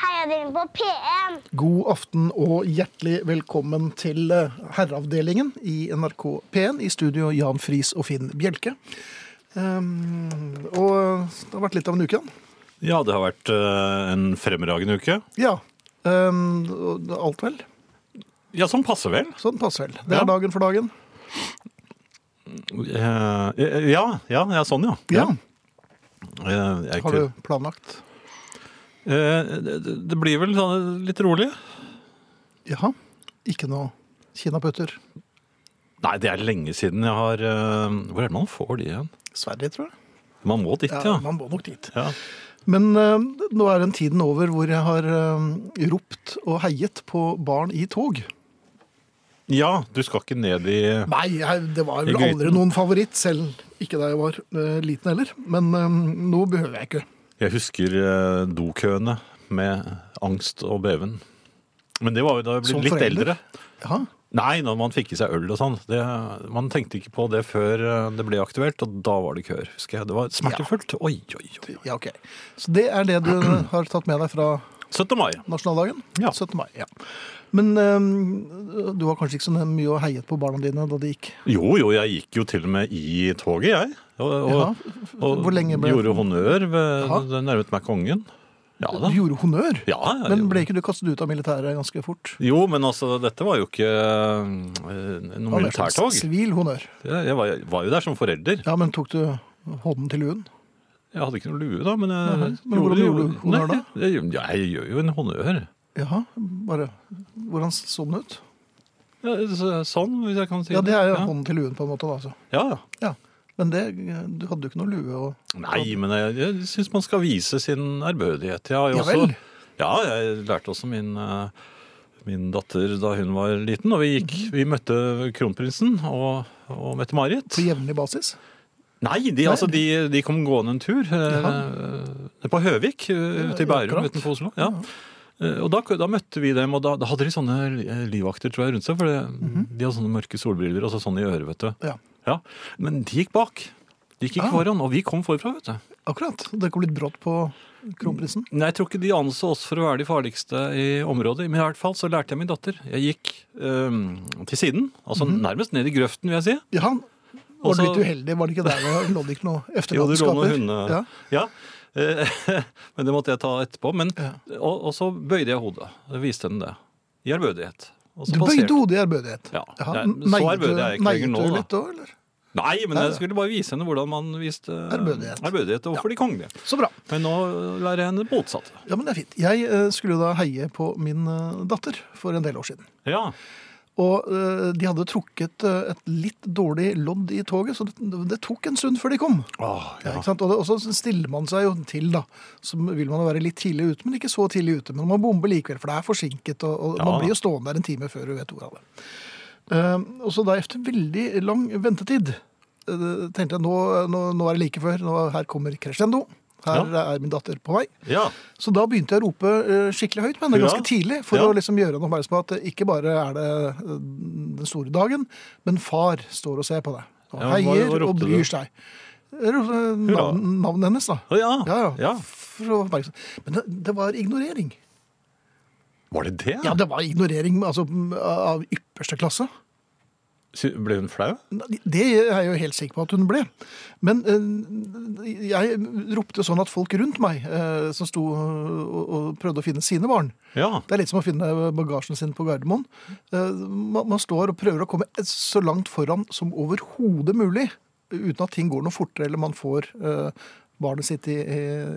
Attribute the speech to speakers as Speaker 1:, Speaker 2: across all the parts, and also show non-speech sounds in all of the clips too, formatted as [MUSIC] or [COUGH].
Speaker 1: radioen på P1.
Speaker 2: God aften og hjertelig velkommen til eh, Herreavdelingen i NRK P1. I studio Jan Friis og Finn Bjelke. Ehm, og det har vært litt av en uke, da.
Speaker 3: Ja, det har vært eh, en fremragende uke.
Speaker 2: Ja. ehm, og alt vel.
Speaker 3: Ja, sånn passer vel.
Speaker 2: Sånn passer vel. Det
Speaker 3: Ja.
Speaker 2: er dagen for dagen.
Speaker 3: Eh, ja, ja, ja, sånn ja.
Speaker 2: Ja.
Speaker 3: Eh, jeg
Speaker 2: Har du planlagt?
Speaker 3: kunne- Eh, det, det blir vel sånn litt rolig.
Speaker 2: Jaha. Ikke noe kinaputter?
Speaker 3: Nei, det er lenge siden jeg har eh, Hvor er det man får de igjen?
Speaker 2: Sverige, tror jeg.
Speaker 3: Man må dit, ja.
Speaker 2: Ja, man må nok dit.
Speaker 3: ja.
Speaker 2: Men eh, nå er den tiden over hvor jeg har eh, ropt og heiet på barn i tog.
Speaker 3: Ja, du skal ikke ned i
Speaker 2: Nei, jeg, det var
Speaker 3: I
Speaker 2: vel
Speaker 3: gryten.
Speaker 2: aldri noen favoritt, selv ikke da jeg var eh, liten heller. Men eh, nå behøver jeg ikke.
Speaker 3: Jeg husker eh, dokøene med angst og beven. Men det var jo da jeg
Speaker 2: Som
Speaker 3: ble litt
Speaker 2: forelder?
Speaker 3: eldre.
Speaker 2: Ja,
Speaker 3: Nei, når man fikk i seg øl og sånn. Det, man tenkte ikke på det før eh, det ble aktuelt, og da var det køer. husker jeg. Det var smertefullt. Oi, oi, oi.
Speaker 2: ja, ok. Så det er det du [CLEARS THROAT] har tatt med deg fra
Speaker 3: 17. mai.
Speaker 2: nasjonaldagen?
Speaker 3: Ja.
Speaker 2: 17. mai, ja. Men eh, du har kanskje ikke så mye å heiet på barna dine da de gikk?
Speaker 3: Jo, jo, jeg gikk jo til og med i toget, jeg. Og, og,
Speaker 2: Jaha.
Speaker 3: og
Speaker 2: Hvor lenge ble-
Speaker 3: gjorde honnør ved
Speaker 2: Jaha.
Speaker 3: Det nærmet meg kongen. Ja da.
Speaker 2: Du gjorde honnør?
Speaker 3: Ja, jeg
Speaker 2: Men
Speaker 3: gjorde
Speaker 2: ble
Speaker 3: det.
Speaker 2: ikke du kastet ut av militæret ganske fort?
Speaker 3: Jo, men altså, dette var jo ikke eh,
Speaker 2: Det
Speaker 3: noe
Speaker 2: var mer som
Speaker 3: militærtog.
Speaker 2: Sivil honnør.
Speaker 3: Jeg jeg var, var jo der som forelder.
Speaker 2: Ja, men tok du hånden til luen?
Speaker 3: Jeg hadde ikke noe lue da, men jeg
Speaker 2: Nei, men hvordan gjorde du honnør
Speaker 3: Nei, jeg, jeg gjør jo en honnør.
Speaker 2: Jaha, bare Hvordan så den ut?
Speaker 3: Ja, så- sånn, hvis jeg kan si
Speaker 2: Ja, det er jo
Speaker 3: ja.
Speaker 2: hånden til luen, på en måte. da, altså.
Speaker 3: Ja, ja.
Speaker 2: Ja, Men det, du hadde jo ikke noe lue og
Speaker 3: Nei, men jeg, jeg syns man skal vise sin ærbødighet. Jeg har jo
Speaker 2: Ja
Speaker 3: også,
Speaker 2: vel.
Speaker 3: ja, jeg lærte også min, eh, min datter da hun var liten, og vi, gikk,
Speaker 2: Mhm.
Speaker 3: vi møtte kronprinsen og, og Mette-Marit.
Speaker 2: på jevnlig basis?
Speaker 3: Nei, de, altså, de, de kom gående en tur eh, eh, på Høvik eh, ute i Bærum
Speaker 2: akkurat.
Speaker 3: utenfor Oslo. Ja. Eh, Og da, da møtte vi dem, og da, da hadde de sånne eh, livvakter tror jeg, rundt seg. For det, de hadde sånne mørke solbriller og så sånn i øret, vet du.
Speaker 2: Mhm. Ja,
Speaker 3: Ja, Men de gikk bak. De gikk ikke
Speaker 2: Ah.
Speaker 3: foran, og vi kom forfra, vet du.
Speaker 2: akkurat. Det kom litt brått på kronprinsen.
Speaker 3: Nei, Jeg tror ikke de anså oss for å være de farligste i området. Men i hvert fall så lærte jeg min datter. Jeg gikk øhm, til siden, altså
Speaker 2: Mhm.
Speaker 3: nærmest ned i grøften, vil jeg si.
Speaker 2: Ja, han var
Speaker 3: Og så-
Speaker 2: litt uheldig, var det ikke der? og Lå det ikke noe
Speaker 3: [LAUGHS] Jo, det lå
Speaker 2: efterlatenskaper?
Speaker 3: noen hunde...
Speaker 2: Ja.
Speaker 3: Ja. Eh, [LAUGHS] men det måtte jeg ta etterpå. Men,
Speaker 2: Ja.
Speaker 3: og, og så bøyde jeg hodet. Jeg viste henne det. I ærbødighet. Og så
Speaker 2: Du
Speaker 3: passerte-
Speaker 2: bøyde hodet i ærbødighet?
Speaker 3: Ja,
Speaker 2: Jaha,
Speaker 3: jeg- så
Speaker 2: neiet
Speaker 3: ærbødig
Speaker 2: du-
Speaker 3: er jeg ikke
Speaker 2: neiet
Speaker 3: lenger nå,
Speaker 2: du
Speaker 3: da.
Speaker 2: litt da, eller?
Speaker 3: Nei, men
Speaker 2: Nei,
Speaker 3: jeg
Speaker 2: ja.
Speaker 3: skulle bare vise henne hvordan man viste eh,
Speaker 2: Ærbødighet.
Speaker 3: ærbødighet overfor de kongelige.
Speaker 2: Så bra.
Speaker 3: Men nå lærer jeg henne det motsatte.
Speaker 2: Ja, men det er fint. Jeg eh, skulle jo da heie på min eh, datter for en del år siden.
Speaker 3: Ja.
Speaker 2: Og eh, de hadde trukket eh, et litt dårlig lodd i toget, så det, det tok en stund før de kom.
Speaker 3: Åh,
Speaker 2: Ja. Ikke sant? Og, det, og så stiller man seg jo til, da. Så vil man jo være litt tidlig ute, men ikke så tidlig ute. Men man bomber likevel, for det er forsinket, og, og
Speaker 3: Ja.
Speaker 2: man blir jo stående der en time før du vet ordet av det. Eh, og så da etter veldig lang ventetid eh, tenkte jeg nå, nå, nå er det like før. Nå, her kommer crescendo. Her er min datter på vei.
Speaker 3: ja.
Speaker 2: Så da begynte jeg å rope eh, skikkelig høyt på henne
Speaker 3: Hurra.
Speaker 2: ganske tidlig, for
Speaker 3: Ja.
Speaker 2: å liksom gjøre henne oppmerksom på at eh, ikke bare er det eh, den store dagen, men far står og ser på deg. Og
Speaker 3: Ja, hva- hva
Speaker 2: heier og
Speaker 3: ropte du?
Speaker 2: bryr seg. Jeg ropte, eh, Navn, navnet hennes, da.
Speaker 3: Å, ja.
Speaker 2: Ja, ja.
Speaker 3: Ja.
Speaker 2: For å være oppmerksom. Men det, det var ignorering.
Speaker 3: Var det det?
Speaker 2: Ja, det var ignorering altså, m, av ypperste klasse.
Speaker 3: Sy- Ble hun flau?
Speaker 2: Det er jeg jo helt sikker på at hun ble. Men eh, jeg ropte sånn at folk rundt meg, eh, som sto og, og prøvde å finne sine barn,
Speaker 3: Ja.
Speaker 2: Det er litt som å finne bagasjen sin på Gardermoen. Eh, Man man står og prøver å komme så langt foran som overhodet mulig, uten at ting går noe fortere eller man får eh, barnet sitt i, eh,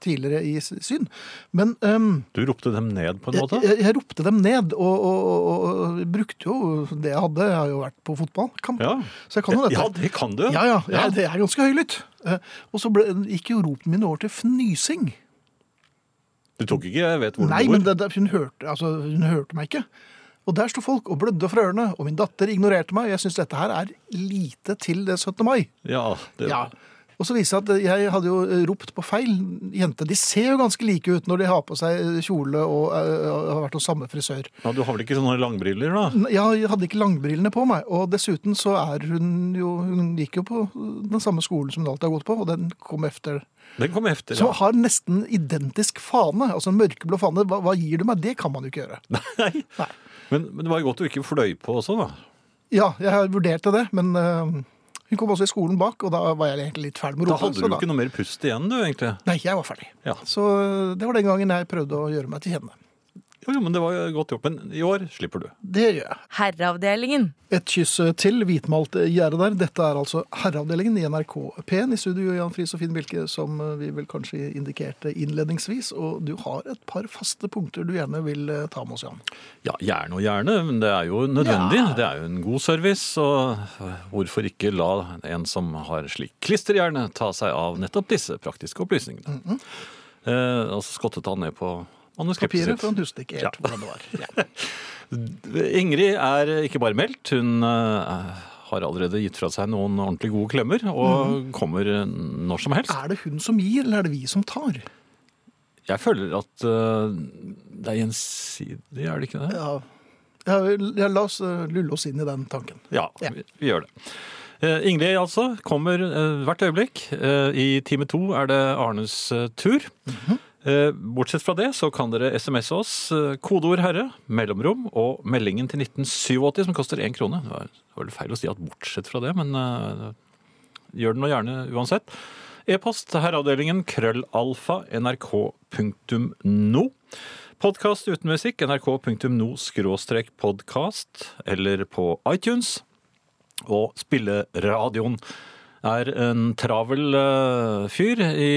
Speaker 2: tidligere i s- syn. Men ehm,
Speaker 3: Du ropte dem ned på en
Speaker 2: jeg,
Speaker 3: måte?
Speaker 2: jeg, jeg ropte dem ned, og, og, og, og brukte jo det jeg hadde. Jeg har jo vært på fotballkamp,
Speaker 3: Ja.
Speaker 2: så jeg kan jo dette.
Speaker 3: Ja, det kan du.
Speaker 2: Ja, ja, ja,
Speaker 3: Ja.
Speaker 2: det er ganske høylytt. Eh, Og så ble, gikk jo ropen min over til fnysing.
Speaker 3: Du tok ikke jeg vet hvor
Speaker 2: Nei,
Speaker 3: du bor?
Speaker 2: men det, det, hun, hørte, altså, hun hørte meg ikke. Og der sto folk og blødde fra ørene, og min datter ignorerte meg. Jeg syns dette her er lite til det 17. mai.
Speaker 3: Ja, det...
Speaker 2: Ja. Og så viser det seg at jeg hadde jo ropt på feil. Jenter de ser jo ganske like ut når de har på seg kjole og eh, har vært hos samme frisør.
Speaker 3: Ja, du har vel ikke sånne langbriller, da?
Speaker 2: N- Ja, jeg hadde ikke langbrillene på meg, og dessuten så er hun jo Hun gikk jo på den samme skolen som hun alltid har gått på, og den kom efter.
Speaker 3: Den kom efter.
Speaker 2: Som
Speaker 3: Ja. [LAUGHS]
Speaker 2: har nesten identisk fane, altså en mørkeblå fane. Hva, hva gir du meg? Det kan man jo ikke gjøre.
Speaker 3: Nei.
Speaker 2: Nei.
Speaker 3: Men, men det var jo godt du ikke fløy på også, da.
Speaker 2: Ja, jeg vurderte det, men eh, hun kom også i skolen bak, og da var jeg egentlig litt ferdig med
Speaker 3: Da
Speaker 2: rotet.
Speaker 3: hadde
Speaker 2: så
Speaker 3: du jo ikke noe mer pust igjen, du, egentlig.
Speaker 2: Nei, jeg var ferdig.
Speaker 3: Ja.
Speaker 2: Så eh, det var den gangen jeg prøvde å gjøre meg til kjenne.
Speaker 3: Jo, jo, men det var jo godt gjort. Men i år slipper du.
Speaker 2: Det gjør jeg.
Speaker 1: Herreavdelingen.
Speaker 2: Et kyss eh, til hvitmalt gjerde der. Dette er altså Herreavdelingen i NRK P1 i studio, Jan Friis og Finn Bilke, som eh, vi vel kanskje indikerte innledningsvis. Og du har et par faste punkter du gjerne vil eh, ta med oss, Jan.
Speaker 3: Ja, gjerne og gjerne, men det er jo nødvendig. Det er jo en god service, og hvorfor ikke la en som har slik klisterhjerne, ta seg av nettopp disse praktiske opplysningene. eh, og så skottet han ned på manuskriptet
Speaker 2: Papiret, for
Speaker 3: sitt.
Speaker 2: han husker ikke helt hvordan det var. Ja.
Speaker 3: Ingrid er ikke bare meldt, hun eh, har allerede gitt fra seg noen ordentlig gode klemmer, og kommer eh, når som helst.
Speaker 2: [LAUGHS] Er det hun som gir, eller er det vi som tar?
Speaker 3: Jeg føler at eh, det er gjensidig, er det ikke det?
Speaker 2: Ja, ja, ja La oss eh, lulle oss inn i den tanken.
Speaker 3: Ja,
Speaker 2: Ja.
Speaker 3: Vi, vi gjør det. Eh, Ingrid altså kommer eh, hvert øyeblikk. Eh, I time to er det Arnes eh, tur. Eh, bortsett fra det så kan dere SMS -e oss. Eh, kodeord 'herre', mellomrom og meldingen til 1987 som koster én krone. Det var, det var vel feil å si at bortsett fra det, men eh, gjør det nå gjerne uansett. E-post til herreavdelingen krøllalfa nrk.no. Podkast uten musikk nrk.no skråstrek podkast eller på iTunes. Og spilleradioen er en travel eh, fyr i,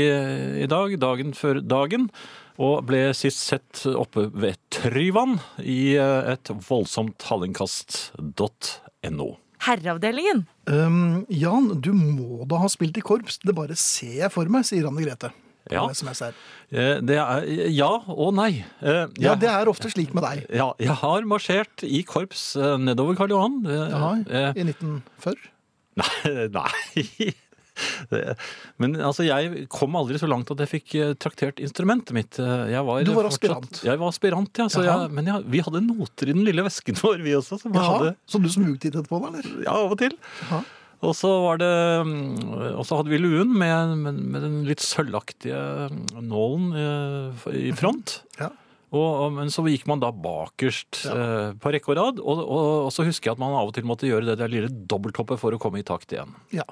Speaker 3: i dag, dagen før dagen. Og ble sist sett oppe ved Tryvann i eh, et voldsomt hallingkast.no.
Speaker 1: Herreavdelingen.
Speaker 2: Um, Jan, du må da ha spilt i korps. Det bare ser jeg for meg, sier Anne Grete.
Speaker 3: Ja.
Speaker 2: På SMS her.
Speaker 3: Eh, Det er ja og nei. Eh,
Speaker 2: ja,
Speaker 3: jeg-
Speaker 2: det er ofte slik med deg.
Speaker 3: ja, jeg har marsjert i korps eh, nedover Karl Johan. Eh,
Speaker 2: Jaha,
Speaker 3: eh,
Speaker 2: I 1940?
Speaker 3: Nei, [LAUGHS] nei. Det- Men altså, jeg kom aldri så langt at jeg fikk eh, traktert instrumentet mitt. Eh, Jeg var
Speaker 2: Du var
Speaker 3: fortsatt-
Speaker 2: aspirant.
Speaker 3: Jeg var aspirant, ja. Så
Speaker 2: Jaha.
Speaker 3: jeg, men jeg, vi hadde noter i den lille vesken vår, vi også. Som jeg
Speaker 2: Jaha,
Speaker 3: hadde,
Speaker 2: Så du smugtittet på den, eller?
Speaker 3: ja, av og til.
Speaker 2: Jaha.
Speaker 3: Og så var det mm, Og så hadde vi luen med, med, med den litt sølvaktige mm, nålen eh, i front.
Speaker 2: Ja.
Speaker 3: Og, og, men så gikk man da bakerst eh, på rekke og rad. Og, og, og så husker jeg at man av og til måtte gjøre det der lille dobbelthoppet for å komme i takt igjen.
Speaker 2: ja.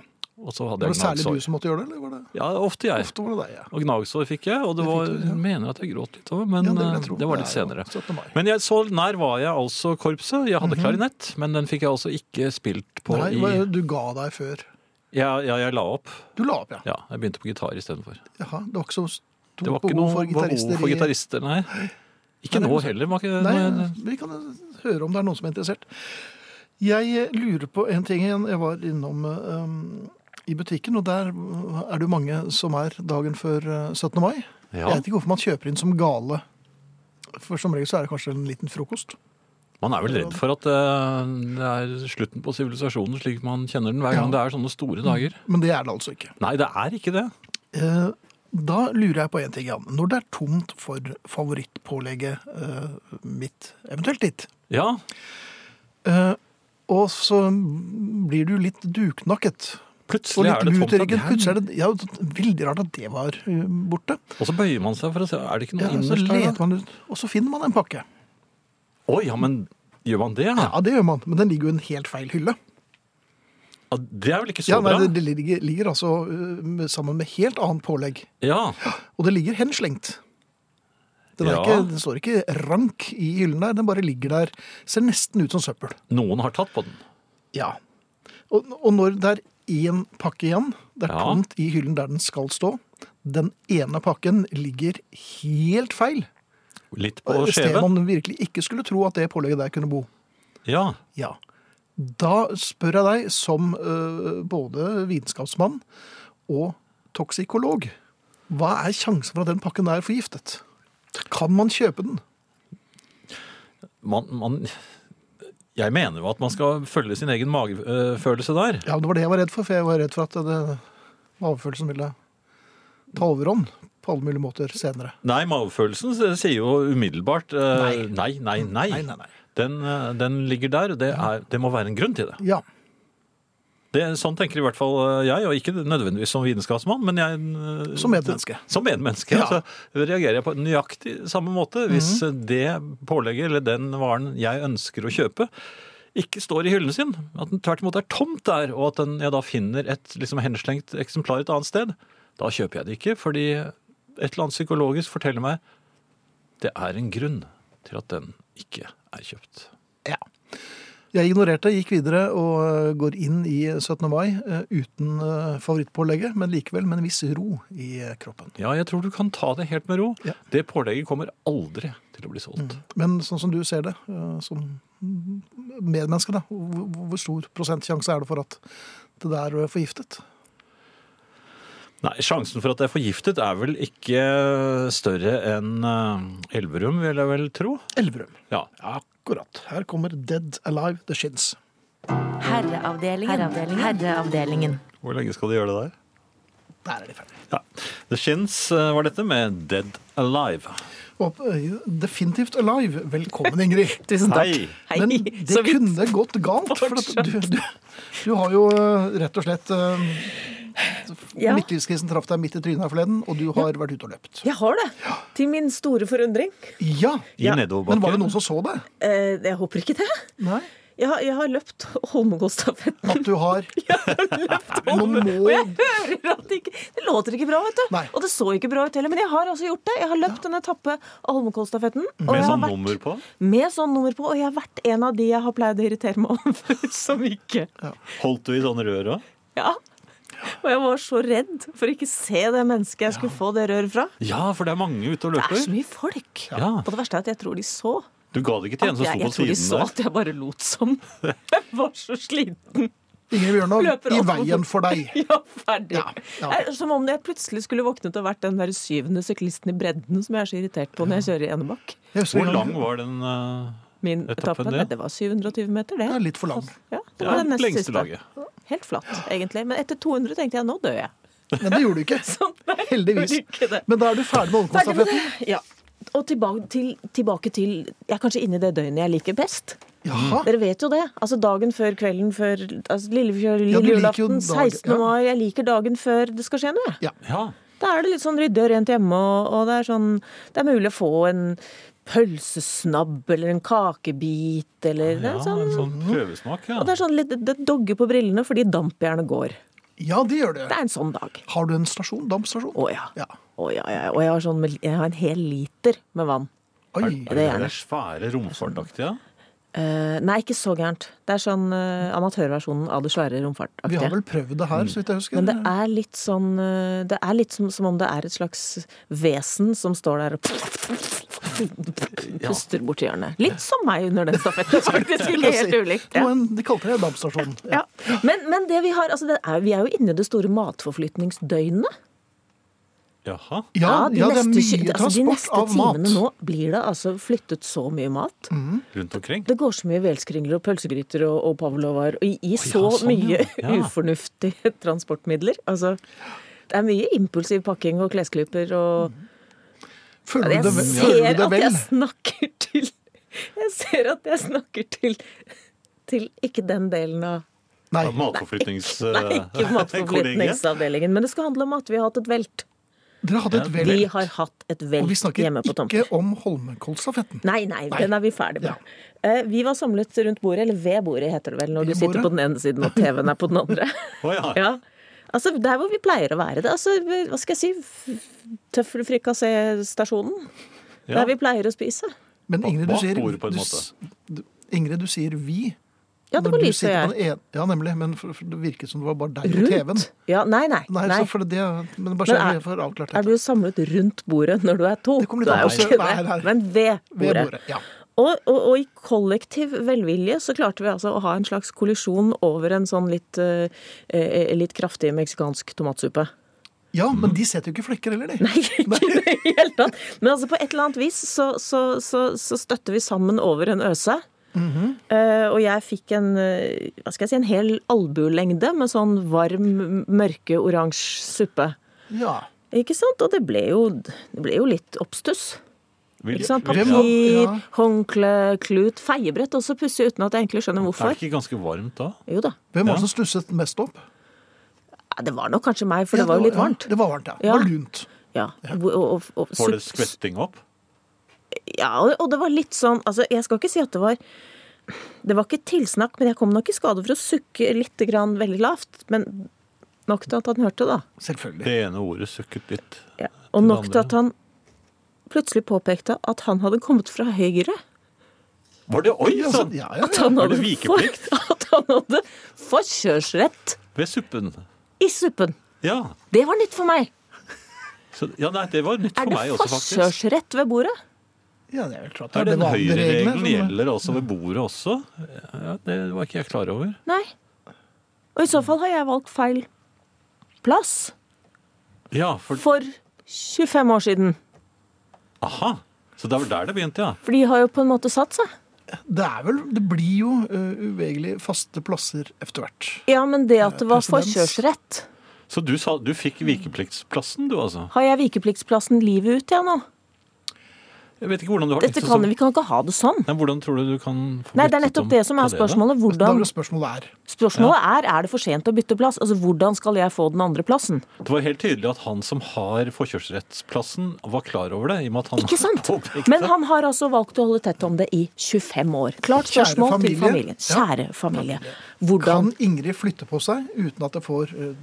Speaker 3: Og så hadde
Speaker 2: Var
Speaker 3: jeg
Speaker 2: det særlig
Speaker 3: gnagsår.
Speaker 2: du som måtte gjøre det, eller var det
Speaker 3: Ja, ofte jeg.
Speaker 2: ofte var det deg? Ja.
Speaker 3: Og gnagsår fikk jeg, og det
Speaker 2: Det
Speaker 3: var,
Speaker 2: fikk du, ja.
Speaker 3: jeg mener at jeg gråt litt av det, men
Speaker 2: Ja, det vil
Speaker 3: eh,
Speaker 2: jeg
Speaker 3: det,
Speaker 2: tro.
Speaker 3: var
Speaker 2: Det
Speaker 3: litt
Speaker 2: er jo
Speaker 3: senere.
Speaker 2: 17. mai.
Speaker 3: Men jeg, så nær var jeg altså korpset. Jeg hadde klarinett, men den fikk jeg altså ikke spilt på
Speaker 2: Mhm. Nei,
Speaker 3: i
Speaker 2: hva- du ga deg før.
Speaker 3: ja, ja, jeg la opp.
Speaker 2: Du la opp, ja.
Speaker 3: Ja, jeg begynte på gitar istedenfor.
Speaker 2: Jaha, det var ikke så stort
Speaker 3: Det var ikke
Speaker 2: behov
Speaker 3: noe
Speaker 2: for
Speaker 3: behov
Speaker 2: gitarister
Speaker 3: for
Speaker 2: i-
Speaker 3: gitarister, nei. Ikke
Speaker 2: Nei, det er
Speaker 3: nå
Speaker 2: sant.
Speaker 3: heller. Var ikke,
Speaker 2: Nei,
Speaker 3: nei,
Speaker 2: vi kan høre om det er noen som er interessert. Jeg eh, lurer på en ting igjen. Jeg var innom eh, i butikken, og der er det jo mange som er dagen før eh, 17. mai.
Speaker 3: Ja.
Speaker 2: Jeg vet ikke hvorfor man kjøper inn som gale. For som regel så er det kanskje en liten frokost.
Speaker 3: Man er vel redd for at eh, det er slutten på sivilisasjonen slik man kjenner den hver gang det er sånne store
Speaker 2: Mm.
Speaker 3: dager.
Speaker 2: Men det er det altså ikke.
Speaker 3: Nei, det er ikke det.
Speaker 2: Eh, Da lurer jeg på en ting, Jan. Når det er tomt for favorittpålegget eh, mitt, eventuelt ditt,
Speaker 3: Ja,
Speaker 2: eh, og så blir du litt duknakket Og
Speaker 3: plutselig
Speaker 2: litt
Speaker 3: er det
Speaker 2: lut
Speaker 3: tomt.
Speaker 2: i ryggen.
Speaker 3: og-
Speaker 2: Plutselig er det ja, Veldig rart at det var eh, borte.
Speaker 3: Og så bøyer man seg for å se, er det ikke noe
Speaker 2: Ja, så
Speaker 3: innerst der?
Speaker 2: leter
Speaker 3: da?
Speaker 2: man ut, og så finner man en pakke.
Speaker 3: Å ja, men gjør man det? Ja?
Speaker 2: Ja, det gjør man, men den ligger jo i en helt feil hylle.
Speaker 3: Ja, Det er vel ikke så
Speaker 2: Ja, nei,
Speaker 3: bra?
Speaker 2: det, det ligger, ligger altså eh, med- sammen med helt annet pålegg.
Speaker 3: Ja,
Speaker 2: Og det ligger henslengt. Den, er
Speaker 3: Ja.
Speaker 2: ikke, den står ikke rank i hyllen der, den bare ligger der. Ser nesten ut som søppel.
Speaker 3: noen har tatt på den.
Speaker 2: Ja. Og, og når det er én pakke igjen, det er
Speaker 3: Ja.
Speaker 2: tomt i hyllen der den skal stå, den ene pakken ligger helt feil.
Speaker 3: Litt på
Speaker 2: Et sted
Speaker 3: skjeven.
Speaker 2: man virkelig ikke skulle tro at det pålegget der kunne bo.
Speaker 3: Ja.
Speaker 2: Ja. Da spør jeg deg, som øh, både vitenskapsmann og toksikolog, hva er sjansen for at den pakken er forgiftet? Kan man kjøpe den?
Speaker 3: Man, man Jeg mener jo at man skal følge sin egen magefølelse der.
Speaker 2: Ja, Det var det jeg var redd for, for jeg var redd for at det magefølelsen ville ta overhånd på alle mulige måter senere.
Speaker 3: Nei, magefølelsen s- sier jo umiddelbart eh, nei, nei, nei.
Speaker 2: Nei, nei, nei.
Speaker 3: Den, eh, den ligger der. og Det, er, det må være en grunn til det.
Speaker 2: Ja.
Speaker 3: det. Sånn tenker i hvert fall eh, jeg, og ikke nødvendigvis som vitenskapsmann, men jeg eh,
Speaker 2: Som medmenneske.
Speaker 3: Som medmenneske.
Speaker 2: Ja.
Speaker 3: Så reagerer jeg på nøyaktig samme måte hvis
Speaker 2: Mhm.
Speaker 3: eh, det pålegget eller den varen jeg ønsker å kjøpe, ikke står i hyllen sin. At den tvert imot er tomt der, og at den, jeg da finner et liksom, henslengt eksemplar et annet sted. Da kjøper jeg det ikke, fordi et eller annet psykologisk forteller meg det er en grunn til at den ikke er kjøpt.
Speaker 2: Ja. Jeg ignorerte, gikk videre og eh, går inn i 17. mai eh, uten eh, favorittpålegget, men likevel med en viss ro i eh, kroppen.
Speaker 3: Ja, jeg tror du kan ta det helt med ro.
Speaker 2: Ja.
Speaker 3: Det pålegget kommer aldri til å bli solgt.
Speaker 4: Mm.
Speaker 2: Men sånn som du ser det, eh, som medmenneske, da, hvor hvor stor prosentsjanse er det for at det der er forgiftet?
Speaker 3: Nei, Sjansen for at det er forgiftet er vel ikke større enn eh, Elverum, vil jeg vel tro.
Speaker 2: Elverum.
Speaker 3: Ja,
Speaker 2: Akkurat. Her kommer Dead Alive The Shins.
Speaker 1: Herreavdelingen. Herreavdelingen. Herreavdelingen.
Speaker 3: Hvor lenge skal de gjøre det der?
Speaker 2: Der er de ferdige.
Speaker 3: Ja. The Shins eh, var dette med Dead Alive.
Speaker 2: Og eh, definitivt Alive. Velkommen, Ingrid.
Speaker 1: [LAUGHS] Tusen takk.
Speaker 3: Hei.
Speaker 2: Men det
Speaker 1: Så vidt.
Speaker 2: kunne gått galt, for at du, du, du har jo eh, rett og slett eh,
Speaker 4: Ja.
Speaker 2: Midtlivskrisen traff deg midt i trynet her forleden, og du har vært ute og løpt.
Speaker 4: Jeg har det. Til min store forundring.
Speaker 2: Ja,
Speaker 3: I
Speaker 4: Ja,
Speaker 3: nedoverbakken.
Speaker 2: Men var det noen som så det?
Speaker 4: Eh, jeg håper ikke det.
Speaker 2: Nei.
Speaker 4: Jeg har, jeg har løpt Holmenkollstafetten.
Speaker 2: At du har
Speaker 4: Løpt
Speaker 2: Nå
Speaker 4: Holmen-
Speaker 2: må
Speaker 4: Og jeg hører at det ikke Det låter ikke bra, vet du.
Speaker 2: Nei.
Speaker 4: Og det så ikke bra ut heller. Men jeg har altså gjort det. Jeg har løpt en etappe av Holmenkollstafetten.
Speaker 2: Mm.
Speaker 4: og jeg
Speaker 3: Med
Speaker 4: har
Speaker 3: sånn
Speaker 4: vært-
Speaker 3: nummer på?
Speaker 4: Med sånn nummer på. Og jeg har vært en av de jeg har pleid å irritere meg over, som ikke
Speaker 3: Holdt du i sånne rør òg?
Speaker 4: Ja. Og jeg var så redd for ikke se det mennesket jeg skulle få det røret fra.
Speaker 3: Ja, for det er mange ute og
Speaker 4: Det er så
Speaker 3: løper.
Speaker 4: mye folk.
Speaker 3: Ja.
Speaker 4: Og det verste er at jeg tror de så.
Speaker 3: Du ga det ikke til en som
Speaker 4: jeg,
Speaker 3: sto
Speaker 4: jeg
Speaker 3: på
Speaker 4: tror de
Speaker 3: siden
Speaker 4: så
Speaker 3: der?
Speaker 4: at jeg bare lot som. [LAUGHS] Jeg var så sliten.
Speaker 2: Ingrid Bjørnov i
Speaker 4: Løper opp mot-
Speaker 2: veien for deg.
Speaker 4: [LAUGHS] Ja, ferdig.
Speaker 2: Ja, ja.
Speaker 4: Jeg- Som om jeg plutselig skulle våknet og vært den der syvende syklisten i bredden som jeg er så irritert på når jeg kjører i Enebakk.
Speaker 2: Jeg husker
Speaker 3: Hvor
Speaker 2: en
Speaker 3: lang
Speaker 2: gang-
Speaker 3: var den? eh,
Speaker 4: Min
Speaker 3: Etappen,
Speaker 4: etappe
Speaker 3: ja.
Speaker 4: nei, det var 720 meter, det.
Speaker 2: Ja, litt for lang.
Speaker 4: Ja, det var
Speaker 3: Ja,
Speaker 4: den nest
Speaker 3: lengste
Speaker 4: siste.
Speaker 3: laget.
Speaker 4: Helt flatt, egentlig. Men etter 200 tenkte jeg nå dør jeg. [LAUGHS]
Speaker 2: Men det gjorde du ikke.
Speaker 4: Sånn, nei,
Speaker 2: Heldigvis.
Speaker 4: gjorde ikke det.
Speaker 2: Men da er du ferdig med
Speaker 4: Ferdig med
Speaker 2: Holmenkollstafetten.
Speaker 4: det. Ja. Og tilbake til, tilbake til Jeg er kanskje inne i det døgnet jeg liker best.
Speaker 2: Jaha.
Speaker 4: Dere vet jo det. Altså dagen før, kvelden før, altså lille,
Speaker 2: Ja, du
Speaker 4: lille
Speaker 2: liker jo
Speaker 4: julaften,
Speaker 2: dagen-
Speaker 4: 16.
Speaker 2: ja.
Speaker 4: mai. Jeg liker dagen før det skal skje noe, jeg.
Speaker 3: Ja.
Speaker 4: Da er det litt sånn ryddig og rent hjemme, og, og det er sånn Det er mulig å få en pølsesnabb eller en kakebit eller det
Speaker 3: ja,
Speaker 4: er
Speaker 3: en
Speaker 4: sånn,
Speaker 3: sånn prøvesmak, ja.
Speaker 4: Og det er sånn litt Det dogger på brillene fordi dampjernet går.
Speaker 2: Ja, det gjør
Speaker 4: Det
Speaker 2: det.
Speaker 4: er en sånn dag.
Speaker 2: Har du en stasjon? Dampstasjon?
Speaker 4: Å ja.
Speaker 2: Ja.
Speaker 4: Å ja, ja. Og jeg har, sånn, med- jeg har en hel liter med vann.
Speaker 2: Oi.
Speaker 4: det
Speaker 3: er
Speaker 4: gjerne.
Speaker 3: det svære romfartaktige?
Speaker 4: Eh, nei, ikke så gærent. Det er sånn eh, amatørversjonen av det svære
Speaker 2: Vi har
Speaker 4: romfartaktige.
Speaker 2: vel prøvd det
Speaker 3: Mm.
Speaker 2: her, så vidt jeg husker.
Speaker 4: Men det er litt sånn eh, Det er litt som, som om det er et slags vesen som står der og puster borti hjørnet. Litt som meg under den
Speaker 2: [LAUGHS]
Speaker 4: stafetten, faktisk. Ikke helt ulikt.
Speaker 2: Det var
Speaker 4: Ja.
Speaker 2: en, de kalte det dampstasjon.
Speaker 4: Ja. Men, men det vi har, altså det er, vi er jo inne i det store matforflytningsdøgnet.
Speaker 3: Jaha.
Speaker 2: Ja, ja, det er
Speaker 4: neste tjue-
Speaker 2: mye
Speaker 4: altså de
Speaker 2: transport
Speaker 4: neste
Speaker 2: av mat.
Speaker 4: timene nå blir det altså flyttet så mye mat.
Speaker 3: Rundt omkring?
Speaker 4: Det går så mye velskringler og pølsegryter og, og pavlovar og i, i så
Speaker 3: sånn, ja.
Speaker 4: mye
Speaker 3: Ja.
Speaker 4: [LAUGHS] ufornuftige transportmidler. Altså, det er mye impulsiv pakking og klesklyper og
Speaker 2: Føler
Speaker 4: Jeg
Speaker 2: du Mm. det, ve- føler
Speaker 4: ser
Speaker 2: du det
Speaker 4: at
Speaker 2: vel?
Speaker 4: jeg snakker til Jeg ser at jeg snakker til til ikke den delen av
Speaker 2: Nei.
Speaker 3: Av Matforflytnings...
Speaker 4: Nei,
Speaker 2: [LAUGHS]
Speaker 4: ikke
Speaker 3: [LAUGHS] kollegiet?
Speaker 4: matforflytningsavdelingen, men det skal handle om at vi har hatt et velt.
Speaker 2: Dere hadde et vel,
Speaker 4: Vi har hatt et
Speaker 2: og vi
Speaker 4: velt
Speaker 2: snakker
Speaker 4: hjemme på
Speaker 2: ikke
Speaker 4: tomten.
Speaker 2: om Holmenkollstafetten.
Speaker 4: Nei, nei,
Speaker 2: Nei.
Speaker 4: den er vi ferdig med. Eh, Vi var samlet rundt bordet, eller ved bordet heter det vel, når du
Speaker 2: Ved
Speaker 4: sitter
Speaker 2: bordet?
Speaker 4: på den ene siden og TV-en er på den
Speaker 2: [LAUGHS]
Speaker 4: andre.
Speaker 3: Å ja.
Speaker 4: Ja. Altså, der hvor vi pleier å være. Det, altså, hva skal jeg si? F- Tøffelfrikassé-stasjonen.
Speaker 3: Ja.
Speaker 4: Der vi pleier å spise.
Speaker 2: Men Ingrid, du
Speaker 3: bak
Speaker 2: sier,
Speaker 3: bordet på en
Speaker 2: du,
Speaker 3: måte.
Speaker 2: s- du, Ingrid, du sier vi.
Speaker 4: Ja, det
Speaker 2: når
Speaker 4: var
Speaker 2: du
Speaker 4: Lise og
Speaker 2: sitter på
Speaker 4: jeg.
Speaker 2: den en- Ja, nemlig. Men for, for det virket som det var bare deg og TV-en.
Speaker 4: Rundt. Ja, nei, nei.
Speaker 2: Nei,
Speaker 4: nei.
Speaker 2: Så for det, men bare
Speaker 4: Men
Speaker 2: så
Speaker 4: er-
Speaker 2: vi får avklart
Speaker 4: Er
Speaker 2: dette.
Speaker 4: du samlet rundt bordet når du er to?
Speaker 2: Det kommer litt
Speaker 4: Du er
Speaker 2: an
Speaker 4: jo
Speaker 2: på
Speaker 4: ikke
Speaker 2: hvem- Nei, nei.
Speaker 4: det. Men ved
Speaker 2: Ved
Speaker 4: bordet.
Speaker 2: bordet. Ja.
Speaker 4: Og, og, og i kollektiv velvilje så klarte vi altså å ha en slags kollisjon over en sånn litt, eh, eh, litt kraftig meksikansk tomatsuppe. [LAUGHS]
Speaker 2: ja, men de setter jo ikke flekker heller, de.
Speaker 4: Nei, ikke i det hele tatt. Men altså på et eller annet vis så, så, så, så støtter vi sammen over en øse.
Speaker 2: Mhm.
Speaker 4: Eh, og jeg fikk en, eh, hva skal jeg si, en hel albuelengde med sånn varm, mørke, oransje suppe.
Speaker 2: Ja.
Speaker 4: Ikke sant? Og det ble jo, det ble jo litt oppstuss.
Speaker 3: Vil-
Speaker 4: Ikke sant?
Speaker 2: Hvem-
Speaker 3: Ja.
Speaker 4: Papir,
Speaker 2: ja.
Speaker 4: håndkle, klut, feiebrett. Også pussig uten at jeg egentlig skjønner
Speaker 3: Er det
Speaker 4: hvorfor.
Speaker 3: ikke ganske varmt da?
Speaker 4: Jo da.
Speaker 2: Hvem var
Speaker 3: Ja.
Speaker 2: det som stusset mest opp?
Speaker 4: Ja, det var nok kanskje meg, for
Speaker 2: Ja,
Speaker 4: det var jo litt varmt.
Speaker 2: Ja, det var varmt, ja.
Speaker 4: Ja.
Speaker 2: Det var lunt.
Speaker 4: Ja, og, og, og,
Speaker 3: Får det
Speaker 4: supp-
Speaker 3: skvetting opp?
Speaker 4: Ja, og- og det var litt sånn altså, Jeg skal ikke si at det var Det var ikke tilsnakk, men jeg kom nok i skade for å sukke litt grann veldig lavt. Men nok til at han hørte, da.
Speaker 2: Selvfølgelig.
Speaker 3: Det ene ordet sukket litt.
Speaker 4: Ja. Og nok til at han plutselig påpekte at han hadde kommet fra høyre.
Speaker 3: Var det oi altså!
Speaker 2: Ja,
Speaker 3: sann!
Speaker 2: sånn, ja, ja,
Speaker 4: At han
Speaker 3: Er det
Speaker 4: hadde,
Speaker 3: vikeplikt?
Speaker 4: for- [LAUGHS] at han hadde forkjørsrett
Speaker 3: Ved suppen.
Speaker 4: i suppen.
Speaker 3: Ja.
Speaker 4: Det var nytt for meg.
Speaker 3: Så, ja, nei, det var nytt
Speaker 4: Er
Speaker 3: for
Speaker 4: det
Speaker 3: meg også, faktisk.
Speaker 4: forkjørsrett ved bordet?
Speaker 2: ja, det er vel klart.
Speaker 3: Er den
Speaker 2: var andre regler
Speaker 3: høyreregelen
Speaker 2: som-
Speaker 3: gjelder også ved bordet også? Ja, det var ikke jeg klar over.
Speaker 4: Nei. Og i så fall har jeg valgt feil plass
Speaker 3: Ja, for
Speaker 4: for 25 år siden.
Speaker 3: Aha! Så det var der det begynte, ja.
Speaker 4: For de har jo på en måte satt seg.
Speaker 2: Det er vel, det blir jo eh, uvegelig faste plasser etter hvert.
Speaker 4: Ja, men det at det var
Speaker 2: presedens.
Speaker 4: forkjørsrett
Speaker 3: Så du, sa, du fikk vikepliktsplassen, du altså?
Speaker 4: Har jeg vikepliktsplassen livet ut, jeg nå?
Speaker 3: Jeg vet ikke hvordan du har
Speaker 4: Dette
Speaker 3: tenkt å
Speaker 4: kan
Speaker 3: så-
Speaker 4: Vi kan ikke ha det sånn.
Speaker 3: Nei, hvordan tror du du kan få
Speaker 4: Nei, det er
Speaker 3: byttet
Speaker 4: nettopp
Speaker 3: om
Speaker 4: det som er
Speaker 3: på da?
Speaker 4: spørsmålet.
Speaker 2: Da
Speaker 4: Hvordan,
Speaker 2: er spørsmålet er
Speaker 4: spørsmålet er er det for sent å bytte plass. Altså, Hvordan skal jeg få den andre plassen?
Speaker 3: Det var helt tydelig at han som har forkjørsrettsplassen, var klar over det. i og med at han [LAUGHS]
Speaker 4: Ikke sant?
Speaker 3: påpekte-
Speaker 4: Men han har altså valgt å holde tett om det i 25 år. Klart
Speaker 2: Kjære
Speaker 4: spørsmål til
Speaker 2: familie.
Speaker 4: familien. Kjære familie.
Speaker 2: kan
Speaker 4: Hvordan
Speaker 2: Ingrid flytte på seg uten at det får eh,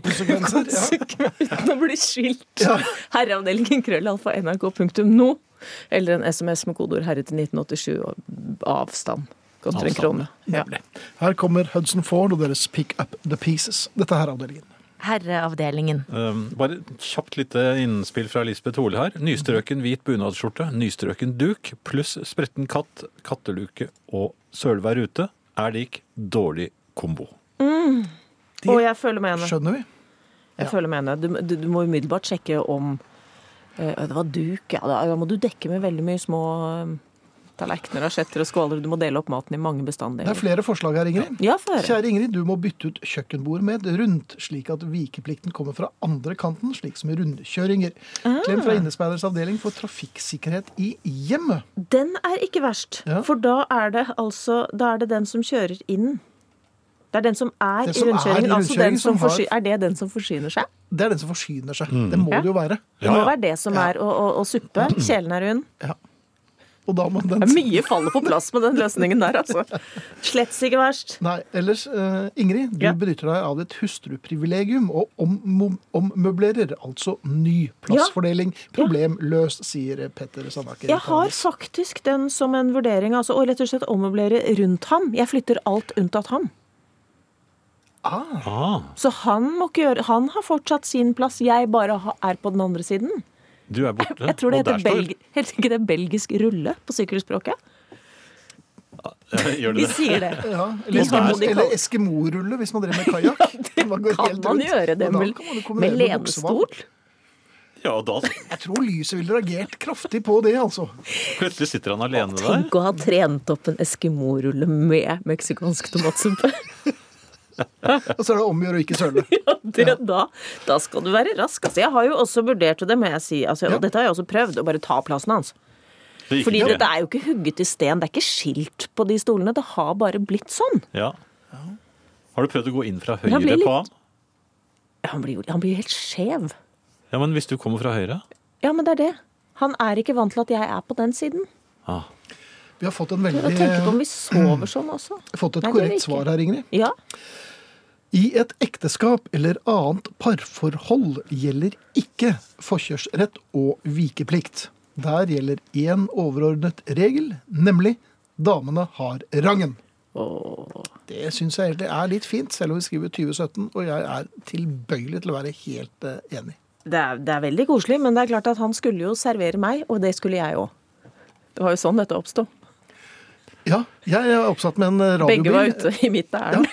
Speaker 2: katastrofale
Speaker 4: [LAUGHS]
Speaker 2: konsekvenser? Ja.
Speaker 4: Uten å bli skilt. Herreavdelingen krøllalfa nrk.no. Eller en SMS med kodeord 'herre' til 1987 og avstand. Koster en
Speaker 3: Avstand,
Speaker 4: krone. Ja.
Speaker 2: Nemlig. Her kommer Hudson Ford og deres Pick Up The Pieces. Dette her er avdelingen.
Speaker 1: Herreavdelingen.
Speaker 3: Um, bare kjapt lite innspill fra Lisbeth Hole her. Nystrøken hvit bunadsskjorte, nystrøken duk pluss spretten katt, katteluke og sølvvær ute er lik dårlig kombo.
Speaker 4: Og jeg føler med henne.
Speaker 2: Skjønner vi?
Speaker 4: Jeg
Speaker 2: Ja.
Speaker 4: føler med henne. Du, du, du må umiddelbart sjekke om eh, Det var duk, ja. Da, da må du dekke med veldig mye små eh, tallerkener, asjetter og skåler. Du må dele opp maten i mange
Speaker 2: Det er
Speaker 4: bestanddeler.
Speaker 2: flere forslag her, Ingrid.
Speaker 4: Ja, få høre.
Speaker 2: Kjære Ingrid, du må bytte ut kjøkkenbord med et rundt, slik at vikeplikten kommer fra andre kanten, slik som i rundkjøringer.
Speaker 4: Ah.
Speaker 2: Klem fra Innespeidernes avdeling for trafikksikkerhet i hjemmet.
Speaker 4: Den er ikke verst.
Speaker 2: Ja.
Speaker 4: For da er det altså Da er det den som kjører inn. Det er den som er
Speaker 2: Det som er
Speaker 4: i
Speaker 2: i
Speaker 4: rundkjøringen. altså den
Speaker 2: rundkjøringen
Speaker 4: som
Speaker 2: som har-
Speaker 4: forsy- Er det den som forsyner seg?
Speaker 2: Det er den som forsyner seg. Det må
Speaker 4: Ja.
Speaker 2: det jo være.
Speaker 4: Det må være det som
Speaker 2: Ja.
Speaker 4: er å, å, å suppe. Kjelen er rund.
Speaker 2: Ja. Og da må den
Speaker 4: Det er Mye faller på plass med den løsningen der, altså. [LAUGHS] Slett ikke verst.
Speaker 2: Nei, ellers, eh, Ingrid, du
Speaker 4: Ja.
Speaker 2: benytter deg av ditt hustruprivilegium og ommom- ommøblerer, altså ny plassfordeling. Problem løst, sier Petter Sandaker.
Speaker 4: Jeg har faktisk den som en vurdering, altså, og rett og slett ommøblere rundt ham. Jeg flytter alt unntatt ham.
Speaker 2: Ah,
Speaker 3: Ah,
Speaker 4: Så han må ikke gjøre Han har fortsatt sin plass, jeg bare ha- er på den andre siden.
Speaker 3: du er borte.
Speaker 4: Jeg tror det
Speaker 3: og der
Speaker 4: heter,
Speaker 3: står-
Speaker 4: belg, heter ikke det belgisk rulle på sykkelspråket.
Speaker 3: [LAUGHS] Gjør
Speaker 4: De
Speaker 3: det det?
Speaker 4: sier det.
Speaker 2: [LAUGHS] ja.
Speaker 4: De
Speaker 2: Eller,
Speaker 4: har-
Speaker 2: Eskimo, eller Eskimo-rulle, hvis man driver med kajakk.
Speaker 4: [LAUGHS] Kan man gjøre det med, med lenestol?
Speaker 3: Ja, og da
Speaker 2: Jeg tror lyset ville reagert kraftig på det, altså.
Speaker 3: plutselig sitter han alene der.
Speaker 4: Tenk å ha trent opp en eskimo-rulle med meksikansk
Speaker 2: [LAUGHS]
Speaker 4: tomatsuppe. [LAUGHS]
Speaker 2: Og så er det om å gjøre å ikke søle.
Speaker 4: Ja, det, da, da skal du være rask. Altså, jeg har jo også vurdert, og det må jeg si, altså,
Speaker 2: Ja.
Speaker 4: og dette har jeg også prøvd, å bare ta plassen hans.
Speaker 3: Det gikk
Speaker 4: Fordi
Speaker 3: ikke.
Speaker 4: dette er jo ikke hugget i sten, det er ikke skilt på de stolene. Det har bare blitt sånn.
Speaker 3: Ja. Har du prøvd å gå inn fra
Speaker 4: han
Speaker 3: høyre
Speaker 4: blir litt-
Speaker 3: på ham?
Speaker 4: Ja, Han blir jo han blir jo helt skjev.
Speaker 3: Ja, men hvis du kommer fra høyre?
Speaker 4: Ja, men det er det. Han er ikke vant til at jeg er på den siden.
Speaker 3: Ah.
Speaker 2: Vi har fått, en
Speaker 4: Jeg tenker på
Speaker 2: veldig,
Speaker 4: om vi sover sånn også.
Speaker 2: fått et
Speaker 4: Nei, det gjør vi
Speaker 2: korrekt
Speaker 4: ikke.
Speaker 2: svar her, Ingrid.
Speaker 4: Ja.
Speaker 2: I et ekteskap eller annet parforhold gjelder ikke forkjørsrett og vikeplikt. Der gjelder én overordnet regel, nemlig damene har rangen. Det syns jeg egentlig er litt fint, selv om vi skriver 2017, og jeg er tilbøyelig til å være helt eh, enig.
Speaker 4: Det er, det er veldig koselig, men det er klart at han skulle jo servere meg, og det skulle jeg òg. Det var jo sånn dette oppsto.
Speaker 2: Ja, jeg er oppsatt med en eh, radiobil.
Speaker 4: Begge var ute i mitt ærend.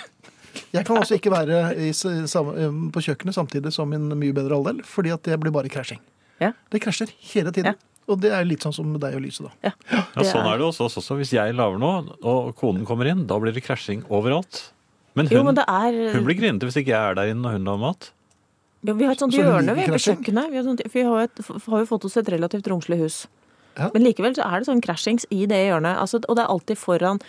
Speaker 2: Jeg kan altså ikke være i, s- um, sam- eh, på kjøkkenet samtidig som min mye bedre halvdel, fordi at det blir bare krasjing.
Speaker 4: Ja.
Speaker 2: Det krasjer hele tiden.
Speaker 4: Ja.
Speaker 2: Og det er litt sånn som deg og Lise, da.
Speaker 4: Ja.
Speaker 3: Ja, sånn er det også, også, også. Hvis jeg lager noe, og konen kommer inn, da blir det krasjing overalt. Men hun,
Speaker 4: Jo, men det er
Speaker 3: hun blir grinete hvis ikke jeg er der inne når hun lager mat.
Speaker 4: jo, Vi har et sånt
Speaker 2: Så hun
Speaker 4: hjørne
Speaker 2: liker
Speaker 4: vi, på
Speaker 2: krasjing?
Speaker 4: kjøkkenet. Vi har, sånt, vi har, jo et, f- har jo fått oss et relativt romslig hus.
Speaker 2: Ja.
Speaker 4: Men likevel så er det sånn krasjings i det hjørnet. Altså, og det er alltid foran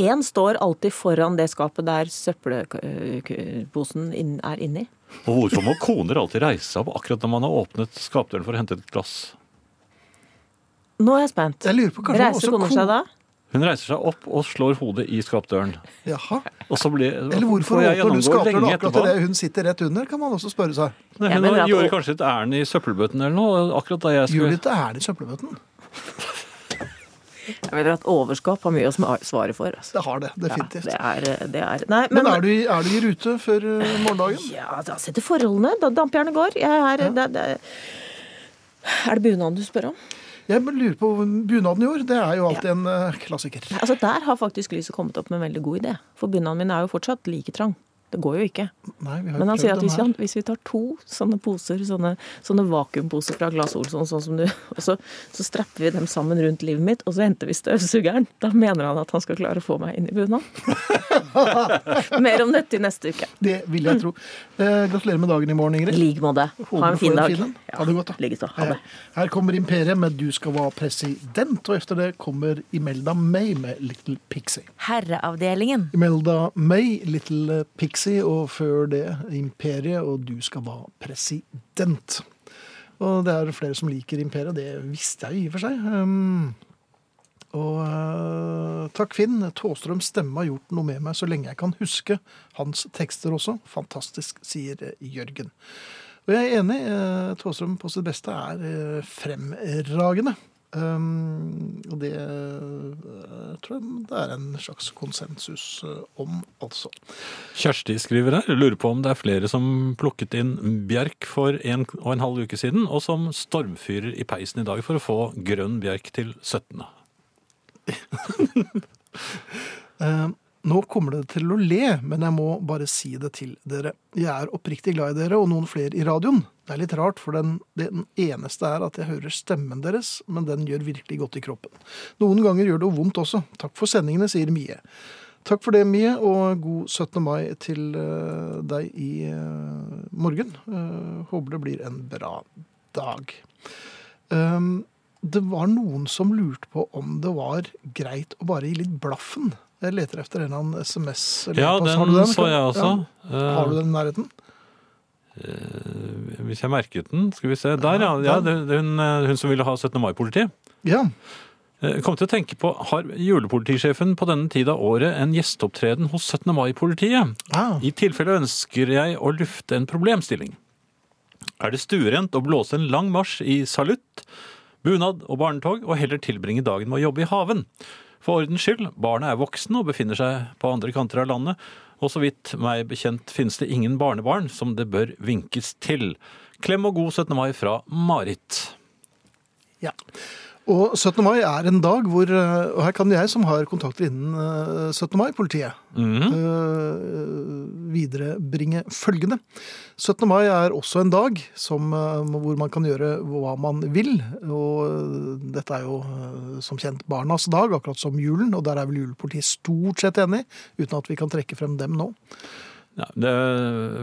Speaker 4: Én står alltid foran det skapet der søppelposen inn, er inni.
Speaker 3: Og hvorfor må koner alltid reise seg opp akkurat når man har åpnet skapdøren for å hente et glass?
Speaker 4: Nå er jeg spent.
Speaker 2: Jeg lurer på kanskje
Speaker 4: Reiser
Speaker 2: også
Speaker 4: koner seg da?
Speaker 3: Hun reiser seg opp og slår hodet i skapdøren.
Speaker 2: Jaha.
Speaker 3: Og så blir,
Speaker 2: Eller hvorfor
Speaker 3: og
Speaker 2: åpner
Speaker 3: jeg
Speaker 2: du
Speaker 3: gjennomgår
Speaker 2: skapdøren
Speaker 3: lenge
Speaker 2: akkurat
Speaker 3: etterpå.
Speaker 2: idet hun sitter rett under, kan man også spørre seg.
Speaker 3: Nei,
Speaker 4: Jeg
Speaker 3: hun
Speaker 4: mener at-
Speaker 3: gjorde kanskje et ærend i søppelbøtten eller noe. og akkurat da jeg
Speaker 2: Gjør
Speaker 3: skulle...
Speaker 2: litt æren i søppelbøtten.
Speaker 4: Jeg mener at overskap har mye å sma- svare for. Altså.
Speaker 2: Det har det, definitivt.
Speaker 4: Ja, det er, eh, det er. Nei,
Speaker 2: Men er du, i- er du i rute før eh, morgendagen?
Speaker 4: Ja, da setter forholdene. Da dampjernet går. Jeg er, det, det, er det bunaden du spør om?
Speaker 2: Jeg lurer på bunaden i år. Det er jo alltid en eh, klassiker.
Speaker 4: Nei, Altså, der har faktisk Lyset kommet opp med en veldig god idé. For bunaden min er jo fortsatt like trang. Det går jo ikke.
Speaker 2: Nei, vi har jo
Speaker 4: Men han
Speaker 2: prøvd
Speaker 4: sier at
Speaker 2: den
Speaker 4: hvis
Speaker 2: her.
Speaker 4: vi, hvis vi tar to sånne poser, sånne, sånne vakuumposer fra Glass Olsson, sånn som du, [LAUGHS] og så, så strapper vi dem sammen rundt livet mitt, og så henter vi støvsugeren, da mener han at han skal klare å få meg inn i
Speaker 2: [LAUGHS]
Speaker 4: bunaden. Mer om dette i neste uke.
Speaker 2: Det vil jeg tro. Eh, gratulerer med dagen i morgen,
Speaker 4: I
Speaker 2: Ingrid.
Speaker 4: like måte. Mm. Ha
Speaker 2: Håper
Speaker 4: en
Speaker 2: du får
Speaker 4: fin dag.
Speaker 2: en. Ha det godt, da.
Speaker 4: Like så. Ha det.
Speaker 2: Her, her kommer Imperiet med 'Du skal være president', og etter det kommer Imelda May med 'Little Pixie'.
Speaker 1: Herreavdelingen.
Speaker 2: Imelda May, 'Little Pixie', og før det Imperiet og 'Du skal være president'. Og det er flere som liker Imperiet, det visste jeg jo i og for seg. Um, og eh, takk Finn, Tåstrøms stemme har gjort noe med meg så lenge jeg kan huske. Hans tekster også. Fantastisk, sier eh, Jørgen. Og jeg er enig, eh, Tåstrøm på sitt beste er eh, fremragende. Um, og det eh, tror jeg det er en slags konsensus eh, om, altså.
Speaker 3: Kjersti skriver her, lurer på om det er flere som plukket inn bjerk for en og en halv uke siden, og som stormfyrer i peisen i dag for å få grønn bjerk til 17.
Speaker 2: Eh, nå kommer det til å le, men jeg må bare si det til dere. Jeg er oppriktig glad i dere og noen flere i radioen. Det er litt rart, for den, den eneste er at jeg hører stemmen deres, men den gjør virkelig godt i kroppen. Noen ganger gjør det vondt også. Takk for sendingene, sier Mie. Takk for det, Mie, og god 17. mai til eh, deg i eh, morgen. Eh, håper det blir en bra dag. Ehm, det var noen som lurte på om det var greit å bare gi litt blaffen. Jeg leter etter en eller annen SMS. eller
Speaker 3: Ja,
Speaker 2: pass. Har
Speaker 3: den,
Speaker 2: du
Speaker 3: så jeg også.
Speaker 2: Ja. Har du den i nærheten?
Speaker 3: Eh, Hvis jeg merket den, skal vi se. Der, ja. ja det, det, er hun, eh, hun som ville ha 17. mai-politi.
Speaker 2: Ja.
Speaker 3: Eh, Kom til å tenke på, Har julepolitisjefen på denne tid av året en gjesteopptreden hos 17. mai-politiet?
Speaker 2: Ah.
Speaker 3: I tilfelle ønsker jeg å lufte en problemstilling. Er det stuerent å blåse en lang marsj i salutt, bunad og barnetog, og heller tilbringe dagen med å jobbe i haven? For ordens skyld, barna er voksne og befinner seg på andre kanter av landet, og så vidt meg bekjent finnes det ingen barnebarn som det bør vinkes til. Klem og god 17. mai fra Marit.
Speaker 2: ja. Og 17. mai er en dag hvor eh, Og her kan jeg, som har kontakter innen eh, 17. mai-politiet, eh, viderebringe følgende. 17. mai er også en dag som, eh, hvor man kan gjøre hva man vil. Og eh, dette er jo eh, som kjent barnas dag, akkurat som julen. Og der er vel julepolitiet stort sett enig, uten at vi kan trekke frem dem nå.
Speaker 3: Ja, det,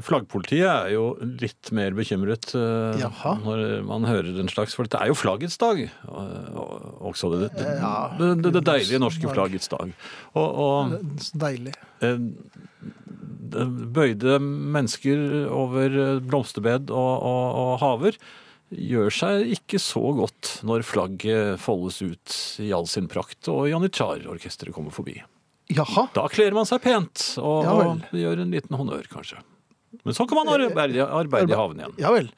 Speaker 3: flaggpolitiet er jo litt mer bekymret eh,
Speaker 2: Jaha.
Speaker 3: når man hører den slags, for dette er jo flaggets dag. eh, og- også det, det, det, det, det deilige norske
Speaker 2: dag.
Speaker 3: flaggets dag. Og, og
Speaker 2: Så Deilig.
Speaker 3: eh, det bøyde mennesker over blomsterbed og, og, og haver gjør seg ikke så godt når flagget foldes ut i all sin prakt og janitsjarorkesteret kommer forbi.
Speaker 2: Jaha.
Speaker 3: Da kler man seg pent og,
Speaker 2: Ja vel.
Speaker 3: og gjør en liten honnør, kanskje. Men så kan man arbeide, arbeide i haven igjen.
Speaker 2: Ja vel.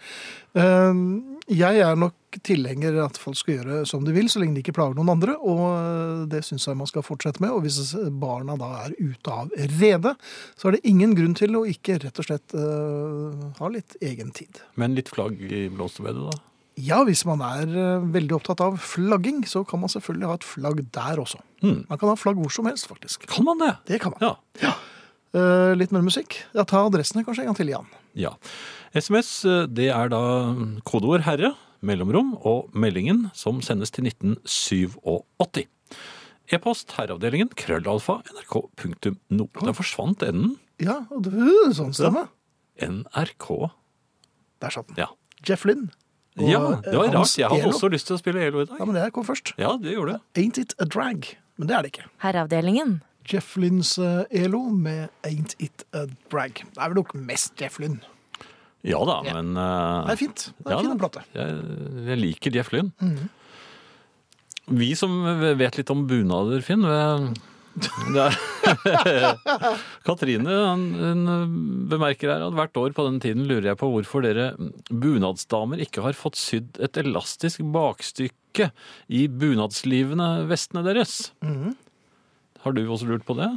Speaker 2: Eh, Jeg er nok tilhenger at folk skal gjøre som de vil, så lenge de ikke plager noen andre. Og eh, det syns jeg man skal fortsette med. Og hvis barna da er ute av redet, så er det ingen grunn til å ikke rett og slett eh, ha litt egen tid.
Speaker 3: Men litt flagg i blomsterbedet, da.
Speaker 2: Ja, hvis man er eh, veldig opptatt av flagging, så kan man selvfølgelig ha et flagg der også.
Speaker 3: Mm.
Speaker 2: Man kan ha flagg hvor som helst, faktisk.
Speaker 3: Kan man det?
Speaker 2: Det kan man.
Speaker 3: Ja.
Speaker 2: Eh, litt mer musikk. Ja, ta adressene kanskje en gang til, Jan.
Speaker 3: ja. SMS, eh, det er da kodeord 'herre'. mellomrom og meldingen som sendes til 1987. E-post herreavdelingen krøllalfa nrk.no. Den forsvant enden.
Speaker 2: Ja, og det, uh, sånn stemme.
Speaker 3: NRK.
Speaker 2: Der satt den.
Speaker 3: Ja.
Speaker 2: Jeff Lynn. Og,
Speaker 3: ja,
Speaker 2: eh,
Speaker 3: det var
Speaker 2: Hans
Speaker 3: rart. Jeg hadde
Speaker 2: Elo.
Speaker 3: også lyst til å spille ELO i
Speaker 2: Ja,
Speaker 3: dag.
Speaker 2: men det her kom først.
Speaker 3: Ja, det gjorde det.
Speaker 2: Ain't It A Drag. Men det er det ikke.
Speaker 1: Herreavdelingen.
Speaker 2: Jeff Lynns eh, ELO med Ain't It A Drag. Det er vel nok mest Jeff Lynn.
Speaker 3: Ja da,
Speaker 2: Ja.
Speaker 3: men
Speaker 2: Det
Speaker 3: eh,
Speaker 2: er fint. Det er
Speaker 3: Ja,
Speaker 2: en fin
Speaker 3: da.
Speaker 2: plate.
Speaker 3: jeg, jeg liker Jeff Lynn. Vi som vet litt om bunader, Finn eh, det er, [LAUGHS] Katrine hun, hun bemerker her at hvert år på denne tiden lurer jeg på hvorfor dere bunadsdamer ikke har fått sydd et elastisk bakstykke i bunadslivene vestene deres.
Speaker 2: Mhm.
Speaker 3: Har du også lurt på det?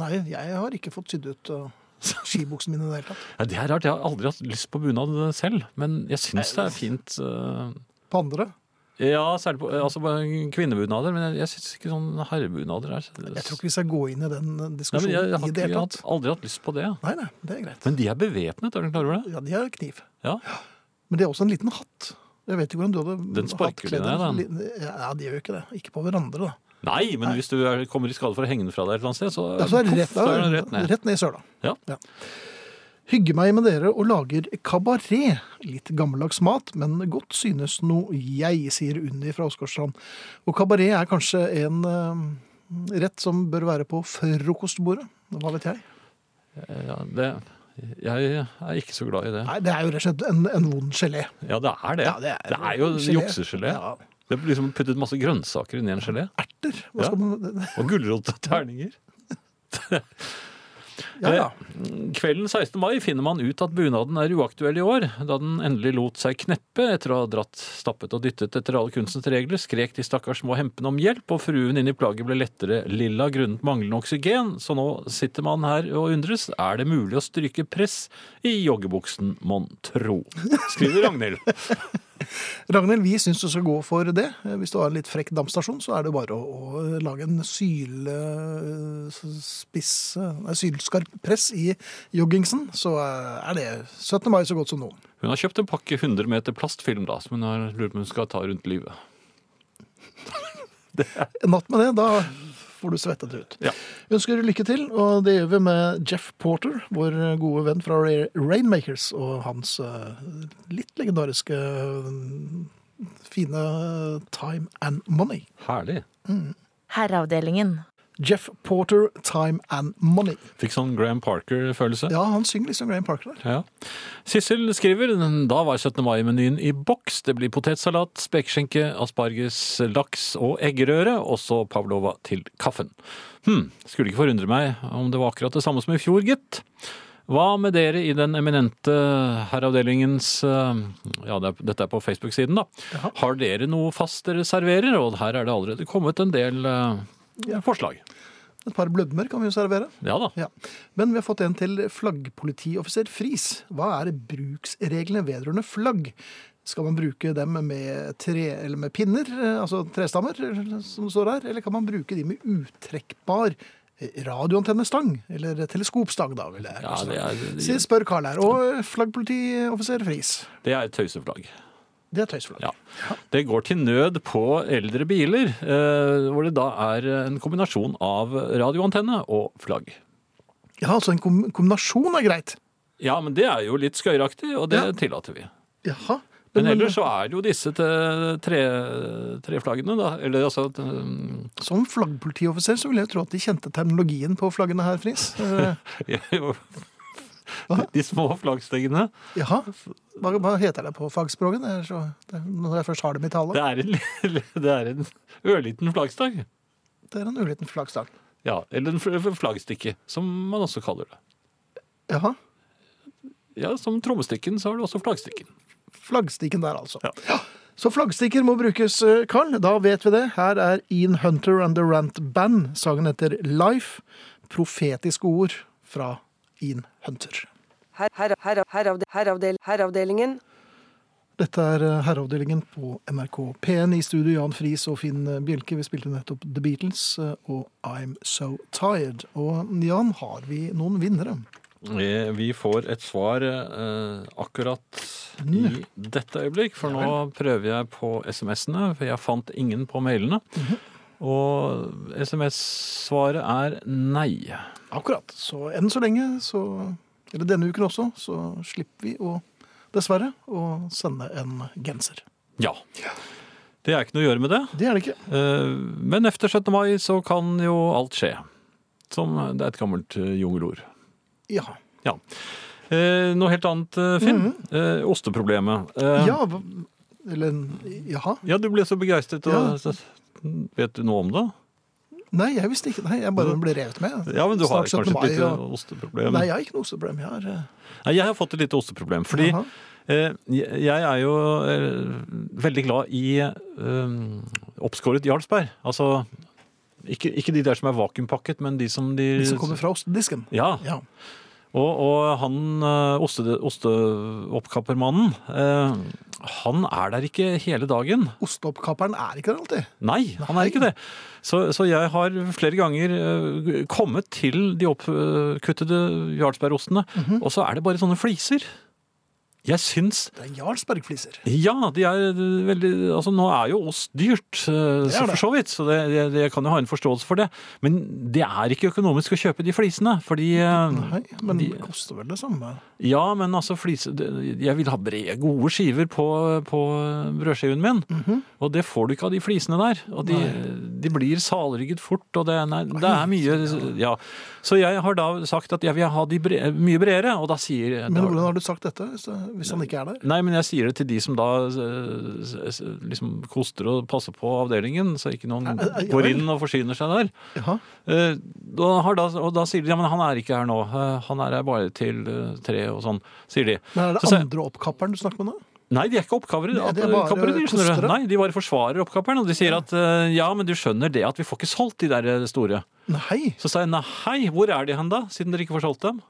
Speaker 2: Nei, jeg har ikke fått sydd ut eh, [LAUGHS] skibuksene mine i det hele tatt.
Speaker 3: Ja, det er rart. Jeg har aldri hatt lyst på bunad selv, men jeg syns det er fint. eh,
Speaker 2: På andre.
Speaker 3: Ja, særlig på altså på kvinnebunader, men jeg, jeg syns ikke sånn herrebunader er
Speaker 2: Jeg tror ikke vi skal gå inn i den eh,
Speaker 3: Nei, men
Speaker 2: diskusjonen
Speaker 3: jeg, jeg har
Speaker 2: i det
Speaker 3: ikke
Speaker 2: hele
Speaker 3: hatt,
Speaker 2: tatt.
Speaker 3: aldri hatt lyst på det.
Speaker 2: Nei, nei, det er greit.
Speaker 3: Men de er bevæpnet, er du klar over det?
Speaker 2: Ja, de har kniv.
Speaker 3: Ja.
Speaker 2: Men de har også en liten hatt. Jeg vet ikke hvordan du hadde
Speaker 3: Den sparker de
Speaker 2: hattkledd
Speaker 3: ned,
Speaker 2: en liten- Ja, de gjør jo ikke det. Ikke på hverandre, da.
Speaker 3: Nei, men hvis du er, kommer i skade for å henge den fra deg et eller annet sted, så,
Speaker 2: Ja, så er det rett,
Speaker 3: poff, så er den rett ned.
Speaker 2: rett ned i søla.
Speaker 3: Ja.
Speaker 2: Hygger meg med dere og lager kabaret. Litt gammeldags mat, men godt synes noe jeg, sier Unni fra Åsgårdstrand. Og kabaret er kanskje en eh, rett som bør være på frokostbordet. Hva vet jeg?
Speaker 3: ja, det, jeg er ikke så glad i det.
Speaker 2: Nei, det er jo rett og slett en, en vond gelé.
Speaker 3: Ja, det er det.
Speaker 2: Ja, det er-
Speaker 3: jo
Speaker 2: gelé.
Speaker 3: juksegelé.
Speaker 2: Ja.
Speaker 3: Det blir liksom puttet masse grønnsaker inn i en gelé.
Speaker 2: Erter. Hva skal
Speaker 3: Ja.
Speaker 2: man [LAUGHS]
Speaker 3: Og gulrotterninger.
Speaker 2: Ja, ja.
Speaker 3: Kvelden 16. mai finner man ut at bunaden er uaktuell i år, da den endelig lot seg kneppe etter å ha dratt, stappet og dyttet etter alle kunstens regler, skrek de stakkars små hempene om hjelp, og fruen inni plaget ble lettere lilla grunnet manglende oksygen, så nå sitter man her og undres, er det mulig å stryke press i joggebuksen, mon tro? Skriver Ragnhild.
Speaker 2: Ragnhild, vi syns du skal gå for det. Eh, Hvis du har en litt frekk dampstasjon, så er det bare å, å eh, lage en sylspiss Nei, sylskarp press i joggingsen, så eh, er det 17. mai så godt som noe.
Speaker 3: Hun har kjøpt en pakke 100 meter plastfilm, da, som hun har lurt på om hun skal ta rundt livet.
Speaker 2: En natt med det, da får du svettet det ut.
Speaker 3: Ja.
Speaker 2: Ønsker lykke til, og det gjør vi med Jeff Porter, vår gode venn fra Ra- Rainmakers, og hans eh, litt legendariske eh, fine eh, Time and Money.
Speaker 3: Herlig.
Speaker 1: Herreavdelingen.
Speaker 2: Jeff Porter, Time and Money.
Speaker 3: Fikk sånn Graham Parker-følelse.
Speaker 2: Ja, han synger liksom Graham Parker der.
Speaker 3: Ja. Sissel skriver da var 17. mai-menyen i boks. Det blir potetsalat, spekeskinke, asparges, laks og eggerøre. Også pavlova til kaffen. Hm, skulle ikke forundre meg om det var akkurat det samme som i fjor, gitt. Hva med dere i den eminente herreavdelingens eh, Ja, det er, dette er på Facebook-siden, da.
Speaker 2: Jaha.
Speaker 3: Har dere noe fast dere serverer? Og her er det allerede kommet en del eh, forslag.
Speaker 2: Et par blødmer kan vi jo servere.
Speaker 3: Ja da.
Speaker 2: Ja. Men vi har fått en til flaggpolitioffiser Friis. Hva er bruksreglene vedrørende flagg? Skal man bruke dem med, tre, eller med pinner, eh, altså trestammer, eh, som det står her? Eller kan man bruke de med uttrekkbar eh, radioantennestang? Eller teleskopstang, da. Vil jeg
Speaker 3: Ja,
Speaker 2: kanskje
Speaker 3: det
Speaker 2: si.
Speaker 3: er,
Speaker 2: Så jeg spør Karl her. Og eh, flaggpolitioffiser Friis.
Speaker 3: det er et tøyseflagg.
Speaker 2: Det er tøysflagg.
Speaker 3: Ja. Det går til nød på eldre biler, eh, hvor det da er en kombinasjon av radioantenne og flagg.
Speaker 2: Ja, altså en kom kombinasjon er greit.
Speaker 3: Ja, men det er jo litt skøyeraktig, og det
Speaker 2: Ja.
Speaker 3: tillater vi.
Speaker 2: Jaha.
Speaker 3: Men ellers så er det jo disse te- tre, treflaggene, da. Eller altså [LAUGHS] at, um,
Speaker 2: Som flaggpolitioffiser så vil jeg tro at de kjente terminologien på flaggene her, Friis. Eh,
Speaker 3: jo, de, de små flaggstengene.
Speaker 2: Jaha. Hva, hva heter det på fagspråket? Det er så, det er, når jeg først har det i
Speaker 3: Det
Speaker 2: tale.
Speaker 3: er en, li- [LAUGHS] det er en ørliten flaggstang.
Speaker 2: Det er en uliten flaggstang.
Speaker 3: Ja, eller en fl- flaggstikke, som man også kaller det.
Speaker 2: Jaha.
Speaker 3: Ja, Som trommestikken så har du også flaggstikken.
Speaker 2: Flaggstikken der, altså. Ja. Så flaggstikker må brukes, eh, Carl. Da vet vi det. Her er Ian Hunter and the Rant Band. Sangen heter Life. Profetiske ord fra Ian Hunter.
Speaker 5: Her, her, her, heravde, heravdel, herreavdelingen.
Speaker 2: Dette er eh, herreavdelingen på NRK P1 i studio. Jan Friis og Finn eh, Bjelke. Vi spilte nettopp The Beatles eh, og I'm So Tired. Og Jan, har vi noen vinnere?
Speaker 3: Vi, vi får et svar eh, akkurat
Speaker 2: Mm.
Speaker 3: i dette øyeblikk, for nå prøver jeg på SMS-ene, for jeg fant ingen på mailene.
Speaker 2: Mhm.
Speaker 3: Og SMS-svaret er nei.
Speaker 2: Akkurat. Så enn så lenge, så, eller denne uken også, så slipper vi å, dessverre, å sende en genser.
Speaker 3: Ja. Det er ikke noe å gjøre med det.
Speaker 2: Det er det ikke.
Speaker 3: Eh, Men efter 17. mai så kan jo alt skje. Som det er et gammelt eh, jungelord.
Speaker 2: Ja.
Speaker 3: Ja. Eh, Noe helt annet, eh, Finn. Eh, Osteproblemet.
Speaker 2: Mhm.
Speaker 3: Eh,
Speaker 2: Ja, hva- eller jaha.
Speaker 3: ja, du ble så begeistret.
Speaker 2: Ja.
Speaker 3: Og, så- Vet du noe om det?
Speaker 2: Nei, jeg visste ikke. Nei, jeg bare ble revet med.
Speaker 3: Ja, men Du har
Speaker 2: Snart 17.
Speaker 3: kanskje et lite
Speaker 2: mai, og-
Speaker 3: osteproblem?
Speaker 2: Nei, jeg har ikke noe osteproblem. Jeg har eh,
Speaker 3: Nei, jeg har fått et lite osteproblem. Fordi
Speaker 2: jaha.
Speaker 3: eh, jeg jeg er jo eh, veldig glad i eh, oppskåret jarlsberg. Altså ikke, ikke de der som er vakuumpakket, men de som de
Speaker 2: De som kommer fra ostedisken.
Speaker 3: Ja,
Speaker 2: Ja.
Speaker 3: Og, og han eh, oste, osteoppkappermannen, eh, han er der ikke hele dagen.
Speaker 2: Osteoppkapperen er ikke der alltid.
Speaker 3: Nei, han er ikke det. Så, så jeg har flere ganger eh, kommet til de oppkuttede jarlsbergostene,
Speaker 2: Mhm.
Speaker 3: og så er det bare sånne fliser. Jeg syns
Speaker 2: Det er jarlsbergfliser.
Speaker 3: Ja, de er veldig Altså, nå er jo ost dyrt, eh,
Speaker 2: Det er
Speaker 3: så for
Speaker 2: det.
Speaker 3: så vidt, så det, det, jeg kan jo ha en forståelse for det. Men det er ikke økonomisk å kjøpe de flisene, fordi eh,
Speaker 2: Nei, men
Speaker 3: De-
Speaker 2: det koster vel det samme.
Speaker 3: Ja, men altså flise det- Jeg vil ha brede, gode skiver på, på brødskiven min.
Speaker 2: Mhm.
Speaker 3: Og det får du ikke av de flisene der. Og de, de blir salrygget fort, og det, nei, det er mye Ja. Så jeg har da sagt at jeg vil ha de bre, mye bredere, og da sier
Speaker 2: Men
Speaker 3: da-
Speaker 2: hvordan har du sagt dette, hvis, det- hvis han ikke er der?
Speaker 3: Nei, men jeg sier det til de som da eh, s- s- liksom koster og passer på avdelingen, så ikke noen
Speaker 2: eh, ja
Speaker 3: går
Speaker 2: vel.
Speaker 3: inn og forsyner seg der.
Speaker 2: Jaha.
Speaker 3: Eh, Da har da, og da sier de ja, men han er ikke her nå. Eh, Han er her bare til eh, tre og sånn, sier de.
Speaker 2: Men er det
Speaker 3: Så sa jeg-
Speaker 2: andre oppkapperen du snakker med nå?
Speaker 3: Nei, de er ikke oppkavere.
Speaker 2: Nei, det er bare
Speaker 3: oppkavere, de, skjønner du.
Speaker 2: kostere.
Speaker 3: Nei, de bare forsvarer oppkaveren. Og de sier at eh, ja, men du skjønner det at vi får ikke solgt de der eh, store.
Speaker 2: Nei.
Speaker 3: Så sa jeg nei, hvor er de hen da, siden dere ikke får solgt dem?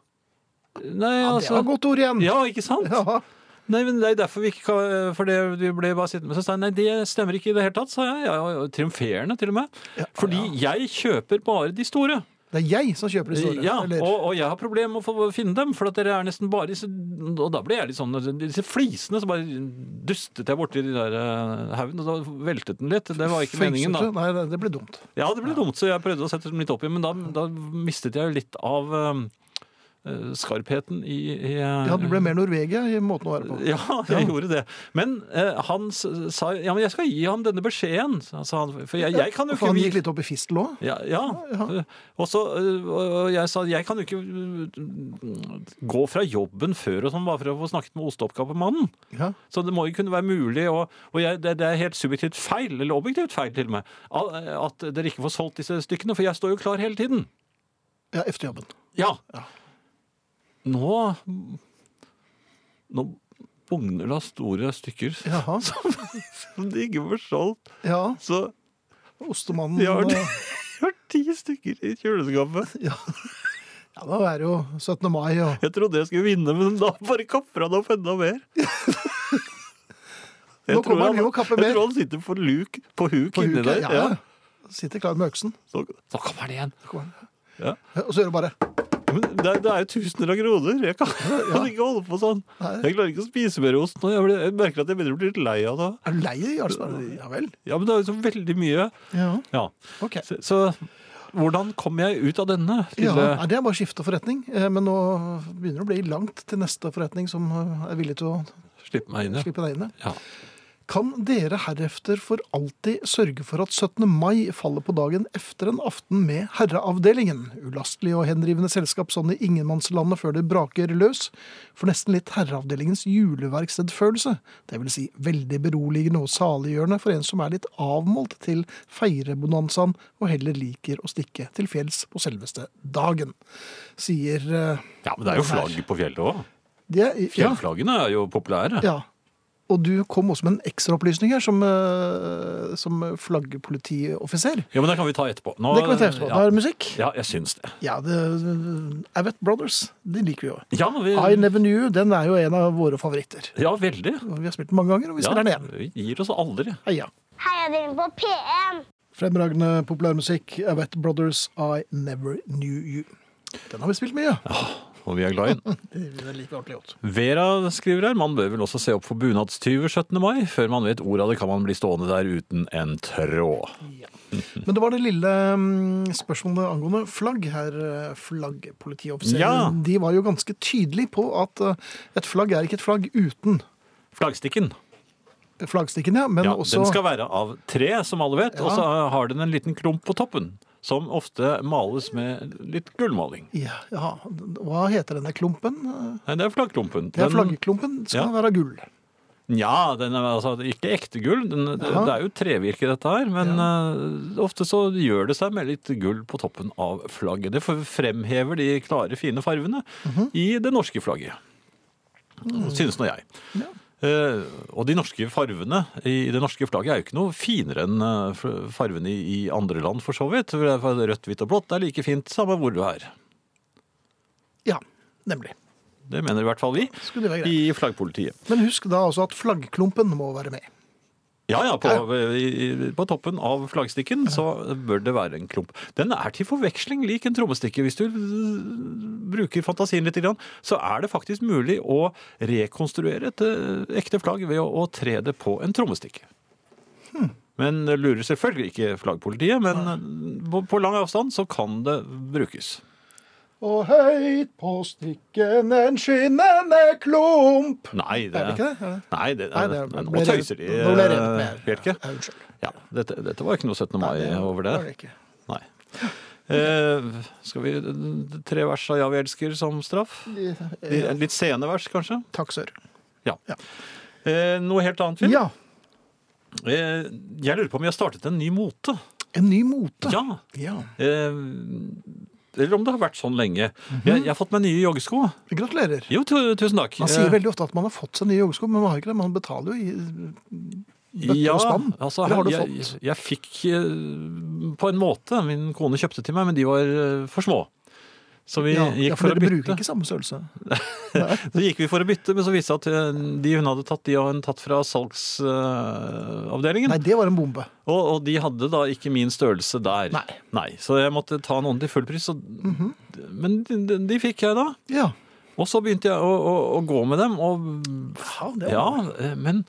Speaker 3: Nei,
Speaker 2: Ja, det
Speaker 3: altså
Speaker 2: var godt ord igjen.
Speaker 3: Ja, ikke sant?
Speaker 2: Ja.
Speaker 3: Nei, men det er derfor vi ikke kan eh, For det vi ble bare sittende med Så sa jeg nei, det stemmer ikke i det hele tatt, sa jeg. Ja, ja, triumferende, til og med.
Speaker 2: Ja,
Speaker 3: Fordi jeg kjøper bare de store.
Speaker 2: Det er jeg som kjøper de store.
Speaker 3: Ja,
Speaker 2: eller-
Speaker 3: og, og jeg har problemer med å få finne dem, for at dere er nesten bare disse Og da ble jeg litt sånn Disse flisene, så bare dustet jeg borti de der eh, haugen, og da veltet den litt. Det var ikke meningen, da.
Speaker 2: Fengselsrett? Nei, det- det ble dumt.
Speaker 3: Ja, det ble dumt, så jeg prøvde å sette dem litt opp igjen, men da, da mistet jeg jo litt av ehm, eh, skarpheten i, i
Speaker 2: Ja, Du ble mer Norvegia i måten å være på.
Speaker 3: [LAUGHS] ja, jeg gjorde det. Men eh, han s- sa ja, men jeg skal gi ham denne beskjeden, sa han. For jeg, jeg kan jo
Speaker 2: For
Speaker 3: ikke
Speaker 2: han
Speaker 3: vi-
Speaker 2: gikk litt opp i fistel òg.
Speaker 3: ja, ja. Og så øh, og jeg sa jeg kan jo ikke øh, gå fra jobben før og sånn bare for å få snakket med osteoppgavemannen.
Speaker 2: Ja.
Speaker 3: Så det må jo kunne være mulig, og, og jeg, det, det er helt subjektivt feil, eller objektivt feil til og med, at at dere ikke får solgt disse stykkene, for jeg står jo klar hele tiden.
Speaker 2: ja, efter jobben.
Speaker 3: Ja. Nå Nå bugner det av store stykker
Speaker 2: [LAUGHS] Jaha.
Speaker 3: som de ikke får solgt.
Speaker 2: Ja,
Speaker 3: Så
Speaker 2: Ostemannen
Speaker 3: Ja, det-
Speaker 2: eh,
Speaker 3: jeg har ti stykker i kjøleskapet.
Speaker 2: Ja, da er det jo 17. mai og
Speaker 3: Jeg trodde jeg skulle vinne, men da bare kapper han opp enda mer.
Speaker 2: [LAUGHS] Nå kommer han jo og kapper
Speaker 3: Jeg
Speaker 2: mer.
Speaker 3: tror han sitter på luk, på huk
Speaker 2: På
Speaker 3: inni
Speaker 2: huket.
Speaker 3: der.
Speaker 2: Ja,
Speaker 3: Ja.
Speaker 2: ja. Sitter klar med øksen.
Speaker 3: Så, så kommer han igjen. Ja.
Speaker 2: Og så gjør det bare
Speaker 3: Men det, er- det er jo tusener av kroner. Jeg kan, kan [LAUGHS] ikke holde på sånn.
Speaker 2: Nei.
Speaker 3: Jeg klarer ikke å spise mer ost nå. Jeg, blir, jeg merker at jeg begynner å bli litt lei av det.
Speaker 2: Er du lei i Jarlsberg? Ja vel.
Speaker 3: Ja, men det er jo så veldig mye.
Speaker 2: Ja,
Speaker 3: Ja.
Speaker 2: ok.
Speaker 3: Så, så hvordan kom jeg ut av denne?
Speaker 2: Ja,
Speaker 3: Lille,
Speaker 2: nei, det er bare å skifte forretning. eh, Men nå begynner det å bli langt til neste forretning som eh, er villig til å
Speaker 3: Slipp meg inn. ja.
Speaker 2: slippe deg inn.
Speaker 3: Ja.
Speaker 2: Kan dere herefter for alltid sørge for at 17. mai faller på dagen efter en aften med herreavdelingen? Ulastelig og henrivende selskap sånn i ingenmannslandet før det braker løs. For nesten litt herreavdelingens juleverkstedfølelse. Det vil si veldig beroligende og saliggjørende for en som er litt avmålt til feirebonanzaen og heller liker å stikke til fjells på selveste dagen. Sier eh,
Speaker 3: ja, men det er jo flagg på fjellet òg.
Speaker 2: det, ja,
Speaker 3: Fjellflaggene er jo populære.
Speaker 2: ja. Og du kom også med en ekstraopplysning her, som, eh, som flaggpolitioffiser.
Speaker 3: Ja, men det kan vi ta etterpå. Nå-
Speaker 2: Det kan vi ta etterpå. Da
Speaker 3: Ja.
Speaker 2: er det musikk.
Speaker 3: Ja, jeg syns det.
Speaker 2: Ja, det, Abbott Brothers, de liker vi jo.
Speaker 3: Ja, vi,
Speaker 2: I Never Knew You, den er jo en av våre favoritter.
Speaker 3: ja veldig.
Speaker 2: Og Vi har spilt den mange ganger, og vi
Speaker 3: Ja,
Speaker 2: spiller den igjen.
Speaker 3: vi gir oss aldri.
Speaker 2: Heia.
Speaker 6: Heiavdelingen på P1.
Speaker 2: Fremragende populærmusikk. Abbott Brothers, I Never Knew You. Den har vi spilt mye.
Speaker 3: og vi er glad i den.
Speaker 2: Det er like ordentlig godt.
Speaker 3: [LAUGHS] Vera skriver her, man bør vel også se opp for bunadstyver 17. mai. Før man vet ordet av det, kan man bli stående der uten en tråd.
Speaker 2: Men det var det lille mm, spørsmålet angående flagg her. eh, Flaggpolitioffiserene
Speaker 3: Ja.
Speaker 2: de var jo ganske tydelige på at eh, et flagg er ikke et flagg uten
Speaker 3: Flaggstikken.
Speaker 2: flaggstikken, ja, men
Speaker 3: Ja,
Speaker 2: også
Speaker 3: Den skal være av tre, som alle vet, og så har den en liten klump på toppen. Som ofte males med litt gullmaling.
Speaker 2: ja, ja, Hva heter denne klumpen? Eh,
Speaker 3: Nei, det er flaggklumpen.
Speaker 2: Det er
Speaker 3: Den-
Speaker 2: flaggklumpen. Skal
Speaker 3: Ja.
Speaker 2: være gull.
Speaker 3: Ja, den er altså ikke ekte gull. Den, det,
Speaker 2: Jaha.
Speaker 3: det er jo trevirke, dette her. Men eh, ofte så gjør det seg med litt gull på toppen av flagget. Det for- fremhever de klare, fine farvene
Speaker 2: Mhm.
Speaker 3: i det norske flagget.
Speaker 2: Mm.
Speaker 3: Synes nå jeg. Eh, og de norske farvene i det norske flagget er jo ikke noe finere enn eh, f- farvene i, i andre land, for så vidt. For det er Rødt, hvitt og blått er like fint samme hvor du er.
Speaker 2: Ja, nemlig.
Speaker 3: Det mener i hvert fall vi
Speaker 2: Skulle det være greit.
Speaker 3: i flaggpolitiet.
Speaker 2: Men husk da også at flaggklumpen må være med.
Speaker 3: Ja, ja, på, i- i- på toppen av flaggstikken så bør det være en klump. Den er til forveksling lik en trommestikke. Hvis du øh, bruker fantasien litt, grann, så er det faktisk mulig å rekonstruere et øh, ekte flagg ved å, å tre det på en trommestikke.
Speaker 2: Hmm.
Speaker 3: Men det lurer selvfølgelig ikke flaggpolitiet, men øh, på, på lang avstand så kan det brukes.
Speaker 2: Og høyt på stikken en skinnende klump.
Speaker 3: Nei, det,
Speaker 2: Er det ikke det? Er det?
Speaker 3: Nei, det, øh,
Speaker 2: Nei, det er-
Speaker 3: nå
Speaker 2: ble det-
Speaker 3: tøyser de.
Speaker 2: nå ble det rett med.
Speaker 3: øh, Bjelke.
Speaker 2: Ja, unnskyld.
Speaker 3: Ja, dette, dette var ikke noe 17. mai over det.
Speaker 2: var det ikke.
Speaker 3: Nei. Eh, skal vi tre vers av Ja, vi elsker som straff?
Speaker 2: Eh,
Speaker 3: Litt sene vers, kanskje?
Speaker 2: Takk, sør.
Speaker 3: Ja.
Speaker 2: Ja.
Speaker 3: Eh, noe helt annet, Finn?
Speaker 2: Ja,
Speaker 3: Eh, jeg lurer på om vi har startet en ny mote?
Speaker 2: en ny mote.
Speaker 3: Ja.
Speaker 2: Ja.
Speaker 3: Eh, eller om det har vært sånn lenge.
Speaker 2: Mhm.
Speaker 3: jeg, jeg har fått meg nye joggesko.
Speaker 2: Gratulerer.
Speaker 3: Jo, tu, tusen takk.
Speaker 2: Man sier veldig ofte at man har fått seg nye joggesko, men man har ikke det. Man betaler jo i bøtter
Speaker 3: Eh, ja,
Speaker 2: og spann.
Speaker 3: Altså,
Speaker 2: Eller har du
Speaker 3: jeg,
Speaker 2: fått?
Speaker 3: Jeg, jeg fikk eh, på en måte Min kone kjøpte til meg, men de var eh, for små. Så vi
Speaker 2: ja, ja,
Speaker 3: gikk
Speaker 2: for
Speaker 3: for å
Speaker 2: dere bruker
Speaker 3: bytte.
Speaker 2: ikke samme størrelse.
Speaker 3: Så gikk vi for å bytte, men så viste det seg at eh, de hun hadde tatt, de hadde hun tatt fra salgsavdelingen.
Speaker 2: Nei, det var en bombe.
Speaker 3: og, og de hadde da ikke min størrelse der.
Speaker 2: Nei. Mhm.
Speaker 3: Så jeg måtte ta noen til full pris. Så, Men de, de- de fikk jeg da.
Speaker 2: Ja.
Speaker 3: Og så begynte jeg å, å, å gå med dem. Og
Speaker 2: Ja, det var-
Speaker 3: ja, eh, men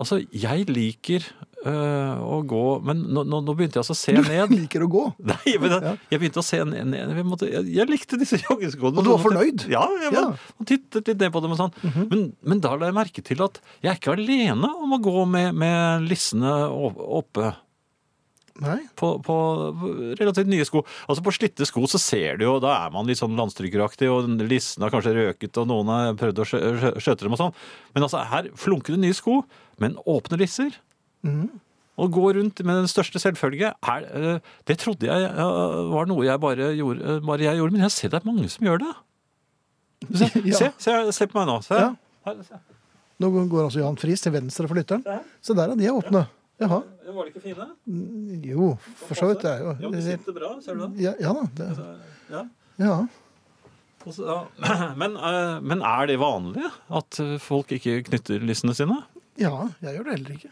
Speaker 3: altså, jeg liker eh, å gå Men nå, nå, nå begynte jeg altså å se ned.
Speaker 2: Liker å gå.
Speaker 3: Nei, men jeg,
Speaker 2: Ja.
Speaker 3: jeg begynte å se ned, ned jeg, måtte, jeg, jeg likte disse joggeskoene.
Speaker 2: Og du var fornøyd?
Speaker 3: Ja,
Speaker 2: Ja.
Speaker 3: jeg
Speaker 2: Mhm.
Speaker 3: var, og tittet litt ned på dem og sånn. men, men da la jeg merke til at jeg er ikke alene om å gå med, med lissene opp- oppe
Speaker 2: Nei.
Speaker 3: på, på relativt nye sko. Altså På slitte sko så ser du jo, da er man litt sånn landstrykeraktig, og lissene har kanskje røket, og noen har prøvd å skjø- skjø- skjøte dem og sånn. Men altså, her flunker det nye sko, men åpne lisser.
Speaker 2: Mhm.
Speaker 3: Og gå rundt med den største selvfølge. Er, eh, det trodde jeg eh, var noe jeg bare gjorde, eh, bare jeg gjorde, men jeg ser det er mange som gjør det. Se,
Speaker 2: Ja.
Speaker 3: se, se, se på meg nå. Se.
Speaker 2: Ja.
Speaker 3: Her, se.
Speaker 2: Nå går altså Jan Friis til venstre for lytteren. Se der, ja. De er åpne. Jaha.
Speaker 3: Var det ikke fine?
Speaker 2: Jo, for så vidt. Det er
Speaker 3: Ja, de
Speaker 2: jo
Speaker 3: sitter bra, ser du det?
Speaker 2: Ja, ja da. Det,
Speaker 3: Ja.
Speaker 2: ja.
Speaker 3: Og så- ja. [CLEARS THROAT] Men, eh, men er det vanlig at eh, folk ikke knytter lissene sine?
Speaker 2: ja, jeg gjør det heller ikke.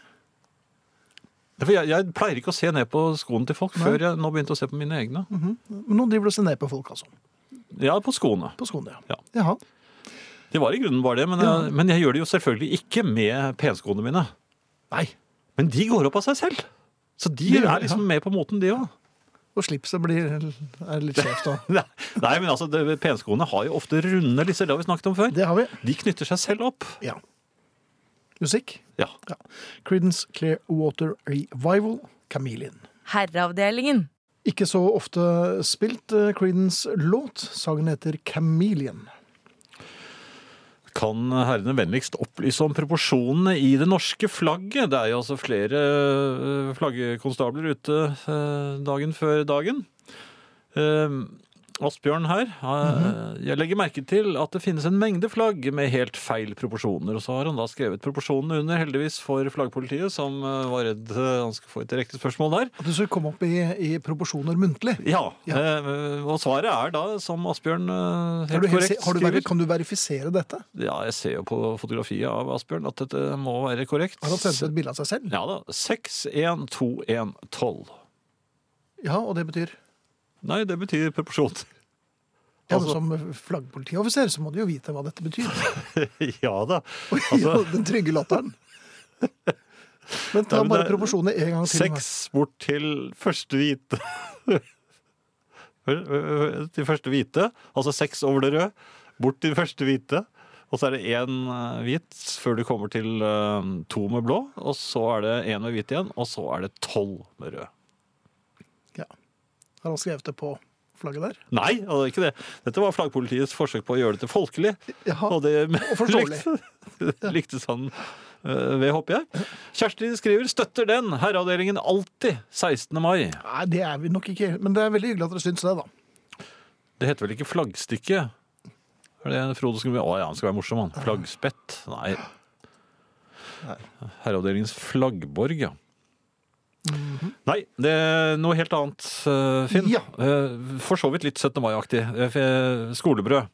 Speaker 3: For jeg, jeg pleier ikke å se ned på skoene til folk
Speaker 2: Nei. Mhm.
Speaker 3: før jeg nå begynte å se på mine egne.
Speaker 2: Men nå driver du og ser ned på folk, altså.
Speaker 3: Ja, på skoene.
Speaker 2: På skoene,
Speaker 3: Ja.
Speaker 2: ja. Jaha.
Speaker 3: Det var i grunnen bare det, men,
Speaker 2: Ja.
Speaker 3: jeg, men jeg gjør det jo selvfølgelig ikke med penskoene mine.
Speaker 2: Nei.
Speaker 3: Men de går opp av seg selv. Så de
Speaker 2: Det gjør
Speaker 3: er
Speaker 2: de,
Speaker 3: liksom med på moten, de
Speaker 2: [LAUGHS]
Speaker 3: òg.
Speaker 2: Og slipset blir er litt skjevt òg.
Speaker 3: Nei, men altså, det, penskoene har jo ofte runde lisser, det har vi snakket om før.
Speaker 2: Det har vi.
Speaker 3: De knytter seg selv opp.
Speaker 2: Ja. Musikk.
Speaker 3: Ja.
Speaker 2: Ja. Creedence Clearwater Revival, Chameleon.
Speaker 1: Herreavdelingen.
Speaker 2: Ikke så ofte spilt eh, Creedence-låt. Sangen heter Chameleon.
Speaker 3: Kan herrene vennligst opplyse om proporsjonene i det norske flagget? Det er jo altså flere øh, flaggkonstabler ute øh, dagen før dagen. Ehm, Asbjørn her. øh,
Speaker 2: Mhm.
Speaker 3: Jeg legger merke til at det finnes en mengde flagg med helt feil proporsjoner. Og så har han da skrevet proporsjonene under, heldigvis for flaggpolitiet, som øh, var redd øh, han skulle få et direkte spørsmål der.
Speaker 2: At du skulle komme opp i, i proporsjoner muntlig.
Speaker 3: Ja,
Speaker 2: Ja.
Speaker 3: øh, Og svaret er da, som Asbjørn øh,
Speaker 2: Er
Speaker 3: helt
Speaker 2: du helt,
Speaker 3: korrekt
Speaker 2: si- har du
Speaker 3: skriver
Speaker 2: veri, kan du verifisere dette?
Speaker 3: Ja, jeg ser jo på fotografiet av Asbjørn at dette må være korrekt.
Speaker 2: Har han sendt et bilde av seg selv?
Speaker 3: Ja da. 6-1-2-1-12.
Speaker 2: Ja, og det betyr
Speaker 3: Nei, det betyr proporsjon.
Speaker 2: Ja, men
Speaker 3: Altså-
Speaker 2: som flaggpolitioffiser så må du jo vite hva dette betyr.
Speaker 3: [LAUGHS] [LAUGHS]
Speaker 2: [LAUGHS]
Speaker 3: ja da.
Speaker 2: Ja,
Speaker 3: Altså,
Speaker 2: Den trygge
Speaker 3: [LAUGHS]
Speaker 2: latteren. Men
Speaker 3: Ja,
Speaker 2: ta
Speaker 3: men
Speaker 2: bare
Speaker 3: det er-
Speaker 2: proporsjonene en gang til.
Speaker 3: seks bort til første hvite. [LAUGHS] til første hvite. Altså seks over det røde. Bort til første hvite. Og så er det én eh, hvit før du kommer til eh, to med blå. Og så er det én med hvit igjen, og så er det tolv med rød.
Speaker 2: Har han skrevet det på flagget der?
Speaker 3: Nei, altså ikke det. Dette var flaggpolitiets forsøk på å gjøre det til folkelig.
Speaker 2: Jaha.
Speaker 3: Og det [LAUGHS]
Speaker 2: forståelig.
Speaker 3: lyktes- lyktes han eh, ved, håper jeg. Kjersti skriver 'støtter den'. Herreavdelingen alltid 16. mai.
Speaker 2: Nei, det er vi nok ikke. Men det er veldig hyggelig at dere syns det, da.
Speaker 3: Det heter vel ikke flaggstykke? Er det Frode skulle bli Å ja, han skal være morsom, han. Flaggspett? Nei. Herreavdelingens flaggborg, ja. Nei, det er noe helt annet, eh, Finn.
Speaker 2: Ja.
Speaker 3: Eh, For så vidt litt 17. mai-aktig. Eh, Skolebrød.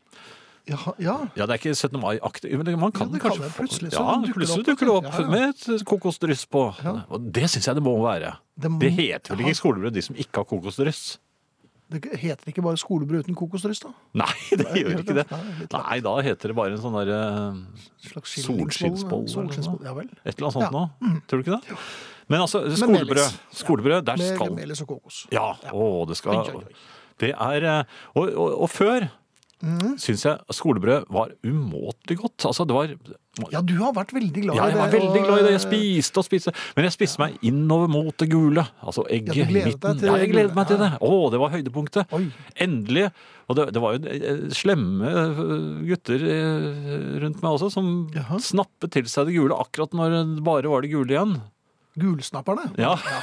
Speaker 2: Ja, ja.
Speaker 3: Ja, det er ikke 17. mai-aktig, men man kan
Speaker 2: Jo, det kan
Speaker 3: kanskje
Speaker 2: det.
Speaker 3: få-
Speaker 2: Plutselig så
Speaker 3: ja,
Speaker 2: dukker det
Speaker 3: plutselig
Speaker 2: opp,
Speaker 3: dukker det opp
Speaker 2: vet du. Ja, ja.
Speaker 3: med et kokosdryss på.
Speaker 2: Ja.
Speaker 3: Og det syns jeg det må være.
Speaker 2: Det må-
Speaker 3: Det heter vel
Speaker 2: Ja.
Speaker 3: ikke skolebrød, de som ikke har kokosdryss? [LAUGHS]
Speaker 2: Det heter ikke bare skolebrød uten kokosdryss, da?
Speaker 3: Nei, det gjør
Speaker 2: gjør
Speaker 3: ikke
Speaker 2: det.
Speaker 3: det.
Speaker 2: Nei, litt
Speaker 3: Nei, da heter det bare en sånn derre
Speaker 2: Slags
Speaker 3: Solskinnsboll, eller noe.
Speaker 2: Solskinnsboll, Ja vel.
Speaker 3: Et eller annet sånt
Speaker 2: Ja. Mm.
Speaker 3: nå. Tror du ikke det? Men altså,
Speaker 2: melis.
Speaker 3: skolebrød. Skolebrød, der
Speaker 2: Med
Speaker 3: skal
Speaker 2: melis og kokos.
Speaker 3: Ja, å, det
Speaker 2: Oi,
Speaker 3: skal
Speaker 2: oi, oi.
Speaker 3: Det er eh, Og, og, og før
Speaker 2: Mm.
Speaker 3: syns jeg skolebrød var umåtelig godt. Altså, det var
Speaker 2: Ja, du har vært veldig glad
Speaker 3: Ja,
Speaker 2: i
Speaker 3: jeg
Speaker 2: det. eh,
Speaker 3: var veldig
Speaker 2: og-
Speaker 3: glad i det. Jeg spiste og spiste. Men jeg spiste meg innover mot det gule. Altså egget
Speaker 2: Ja, du
Speaker 3: i
Speaker 2: gledet deg
Speaker 3: midten.
Speaker 2: til
Speaker 3: Ja,
Speaker 2: det
Speaker 3: jeg
Speaker 2: gule.
Speaker 3: gledet meg til
Speaker 2: Ja.
Speaker 3: det. Å, det var høydepunktet.
Speaker 2: eh, Oi.
Speaker 3: Endelig. Og det, det var jo eh, slemme eh, gutter eh, rundt meg også, som
Speaker 2: Jaha.
Speaker 3: snappet til seg det gule akkurat når det bare var det gule igjen.
Speaker 2: Gulsnapperne.
Speaker 3: Ja,
Speaker 2: Ja,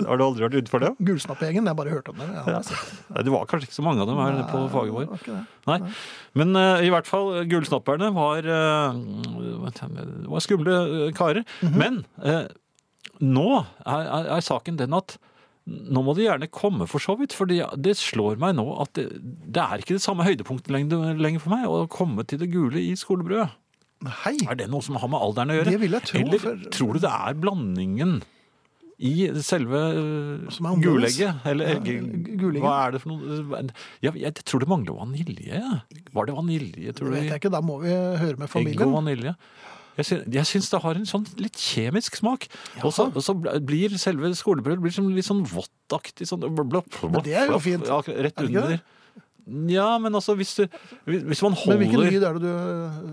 Speaker 3: [LAUGHS] Har du aldri vært ute for det?
Speaker 2: Gulsnappgjengen. Jeg bare hørte om det. Ja, det er sant.
Speaker 3: Nei, Det var kanskje ikke så mange av dem her på faget
Speaker 2: Det
Speaker 3: vår.
Speaker 2: var ikke det.
Speaker 3: Nei. Men eh, i hvert fall, gullsnapperne var, eh, det var skumle eh, karer.
Speaker 2: Mhm.
Speaker 3: Men eh, nå er, er, er saken den at nå må de gjerne komme for så vidt, for det slår meg nå at det, det er ikke det samme høydepunktet lenger, lenger for meg å komme til det gule i skolebrød.
Speaker 2: Hei!
Speaker 3: Er det noe som har med alderen å gjøre?
Speaker 2: Det vil jeg tro,
Speaker 3: Eller
Speaker 2: for-
Speaker 3: tror du det er blandingen i selve
Speaker 2: Som er
Speaker 3: eh,
Speaker 2: annerledes?
Speaker 3: gulegget? Eller egge-
Speaker 2: gu- gulegget.
Speaker 3: Hva er det for noe? Jeg, jeg tror det mangler vanilje. jeg. Var det vanilje,
Speaker 2: Det
Speaker 3: tror du?
Speaker 2: vet
Speaker 3: i-
Speaker 2: jeg ikke, da må vi høre med
Speaker 3: Egg og
Speaker 2: familien.
Speaker 3: vanilje. Jeg syns, jeg syns det har en sånn litt kjemisk smak. Og så, og så blir selve skolebrød blir som litt sånn våttaktig. Sånn, blå, blå, blå,
Speaker 2: Men det er jo fint.
Speaker 3: Ja, rett
Speaker 2: Er det ikke
Speaker 3: under.
Speaker 2: det?
Speaker 3: Ja, men altså hvis, du, hvis hvis man
Speaker 2: Men hvilken
Speaker 3: holder
Speaker 2: lyd er det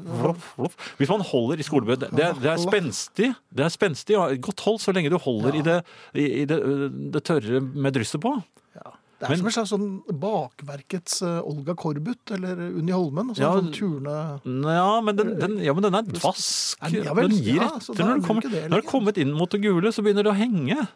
Speaker 2: du
Speaker 3: Flopp, flopp. Hvis man holder i skolebrød Det, det, er- det er spenstig. Det er spenstig og godt hold så lenge du holder i, det, i, i det, det tørre med drysset på.
Speaker 2: Det er
Speaker 3: Men-
Speaker 2: som en slags sånn bakverkets eh, Olga Korbut eller Unni Holmen. Sånn,
Speaker 3: Ja.
Speaker 2: sånn turne
Speaker 3: Ja, men den, den, ja, men den er dvask.
Speaker 2: Ja, ja vel.
Speaker 3: den gir
Speaker 2: Ja, så da
Speaker 3: etter
Speaker 2: er
Speaker 3: når
Speaker 2: det
Speaker 3: du kommer,
Speaker 2: ikke det
Speaker 3: når du
Speaker 2: lenger.
Speaker 3: har kommet inn mot det gule, så begynner det å henge.